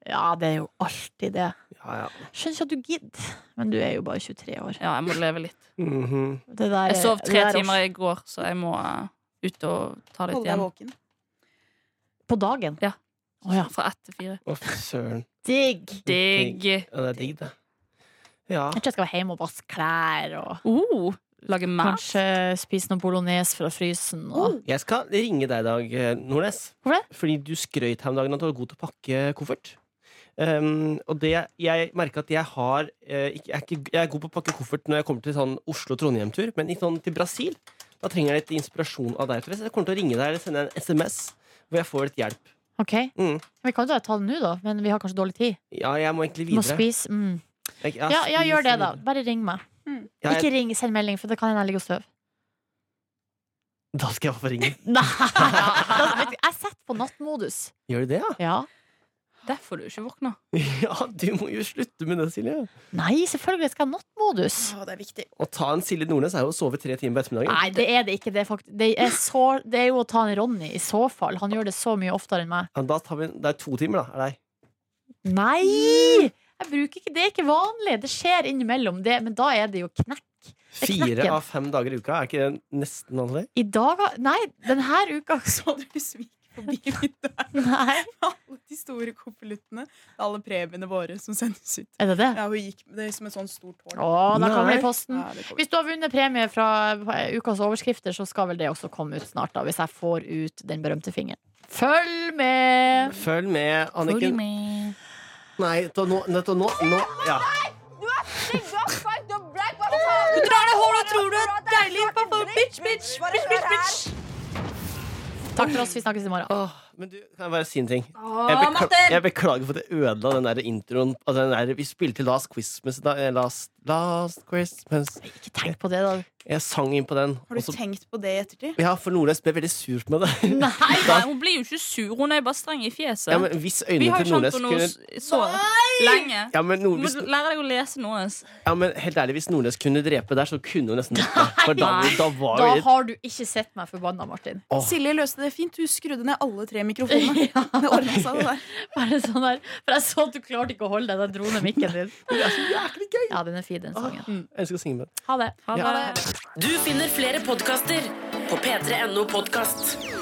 Speaker 2: Ja, det er jo alltid det.
Speaker 4: Ja, ja.
Speaker 2: Skjønner ikke at du gidder, men du er jo bare 23 år.
Speaker 3: Ja, jeg må leve litt.
Speaker 4: Mhm.
Speaker 2: Det der,
Speaker 3: Jeg sov tre
Speaker 2: det der
Speaker 3: timer i går, så jeg må eh, ut og ta litt
Speaker 5: Hold deg
Speaker 3: igjen.
Speaker 5: våken.
Speaker 2: På dagen?
Speaker 3: Ja.
Speaker 2: Å ja.
Speaker 3: Fra ett til fire.
Speaker 4: Å, fy søren.
Speaker 2: Digg!
Speaker 3: Digg.
Speaker 4: Ja, det er digg, det. Ja.
Speaker 2: Jeg tror jeg skal være hjemme og vaske klær og
Speaker 3: Oh, lage mat.
Speaker 2: kanskje spise noe bolognese fra frysen. Og...
Speaker 4: Jeg skal ringe deg i dag, eh, Nordnes.
Speaker 2: Hvorfor
Speaker 4: Fordi du skrøt her om dagen at du var god til å pakke koffert. Um, og det, jeg merker at jeg har eh, ikke, jeg, er ikke, jeg er god på å pakke koffert når jeg kommer til sånn Oslo-Trondheim-tur, men ikke sånn til Brasil. Da trenger jeg litt inspirasjon av deg. tror jeg. Så jeg kommer til å ringe deg eller sende en SMS hvor jeg får litt hjelp.
Speaker 2: Ok,
Speaker 4: Mm.
Speaker 2: Vi kan jo da ta det nå, da, men vi har kanskje dårlig tid.
Speaker 4: Ja, jeg må egentlig
Speaker 2: Må
Speaker 4: videre.
Speaker 2: spise. Mm.
Speaker 4: Jeg-
Speaker 2: Ja, ja,
Speaker 4: spiser
Speaker 2: gjør det, da.
Speaker 4: videre.
Speaker 2: Bare ring meg.
Speaker 4: Ja, jeg,
Speaker 2: Ikke ring, send melding, for det kan hende jeg ligger og sover.
Speaker 4: da skal jeg få ringe.
Speaker 2: Nei! Da, vet du, jeg setter på nattmodus.
Speaker 4: Gjør du det, ja?
Speaker 2: Ja.
Speaker 3: Derfor du ikke våkner.
Speaker 4: Ja, du må jo slutte med det, Silje.
Speaker 2: Nei, selvfølgelig skal jeg ha nattmodus.
Speaker 5: Å, det er viktig.
Speaker 4: Å ta en Silje Nordnes er jo å sove tre timer på ettermiddagen.
Speaker 2: Nei, det er det ikke. Det er, fakt- det er, så, det er jo å ta en Ronny i så fall. Han gjør det så mye oftere enn meg.
Speaker 4: Ja, da tar vi, en- det er to timer, da. Er det?
Speaker 2: Nei! Jeg bruker ikke, Det er ikke vanlig. Det skjer innimellom, det, men da er det jo knekk. Det er
Speaker 4: Fire
Speaker 2: knekken.
Speaker 4: av fem dager i uka, er ikke det nesten vanlig?
Speaker 2: I dag har- Nei, denne uka
Speaker 5: Så du svik forbi mitt der
Speaker 2: Nei.
Speaker 5: med alle de store konvoluttene? Alle premiene våre som sendes ut.
Speaker 2: Er det det?
Speaker 5: Ja, hun gikk med det som et sånt stort tårn.
Speaker 2: Å, da kommer det
Speaker 4: Nei.
Speaker 2: i posten.
Speaker 5: Ja, det kommer.
Speaker 2: Hvis du har vunnet premie fra ukas overskrifter, så skal vel det også komme ut snart, da, hvis jeg får ut den berømte fingeren. Følg med!
Speaker 4: Følg med,
Speaker 3: Følg
Speaker 4: Anniken.
Speaker 3: med.
Speaker 4: Nei, da, nå, nettopp nå, nå ja.
Speaker 1: Du drar deg håret og tror du er deilig. Pappa, bitch, bitch, bitch, bitch, bitch.
Speaker 2: Takk for oss. Vi snakkes i morgen.
Speaker 4: Åh, Men du, kan jeg bare si en ting? Jeg, bekla jeg beklager for at jeg ødela den der introen. Altså den der, vi spilte Last Christmas da, eh, last, last Christmas.
Speaker 2: Ikke tenk på det, da.
Speaker 4: Jeg sang inn på den. og
Speaker 5: Har du
Speaker 4: så-
Speaker 5: tenkt på det i ettertid?
Speaker 4: Ja, for Nordnes ble veldig sur på meg. da.
Speaker 3: Nei, nei, hun blir jo ikke sur. Hun er bare streng i fjeset.
Speaker 4: Ja, men hvis
Speaker 3: vi
Speaker 4: øynene
Speaker 3: har
Speaker 4: til
Speaker 3: jo kjent
Speaker 4: Nordnes
Speaker 3: på noe
Speaker 4: kunne
Speaker 3: så lenge.
Speaker 4: ja men,
Speaker 3: Du
Speaker 4: Nord,
Speaker 3: må
Speaker 4: hvis,
Speaker 3: lære deg å lese noe. ass.
Speaker 4: ja, men helt ærlig, hvis Nordnes kunne drepe der, så kunne hun nesten drept meg. For da,
Speaker 3: Nei.
Speaker 4: da var
Speaker 2: Da
Speaker 4: vi
Speaker 2: har du ikke sett meg forbanna, Martin.
Speaker 4: Åh.
Speaker 5: Silje løste det fint. Hun skrudde ned alle tre mikrofonene. Det ordnet seg, det der.
Speaker 2: Bare sånn der. For jeg så at du klarte ikke å holde deg. Da dro ned mikken din.
Speaker 4: Det er så jæklig gøy!
Speaker 2: Ja, den er fin, den sangen.
Speaker 4: Jeg elsker å synge med.
Speaker 2: Ha det.
Speaker 3: Ha
Speaker 4: Ja.
Speaker 3: det.
Speaker 6: Du finner flere podkaster på p3.no podkast.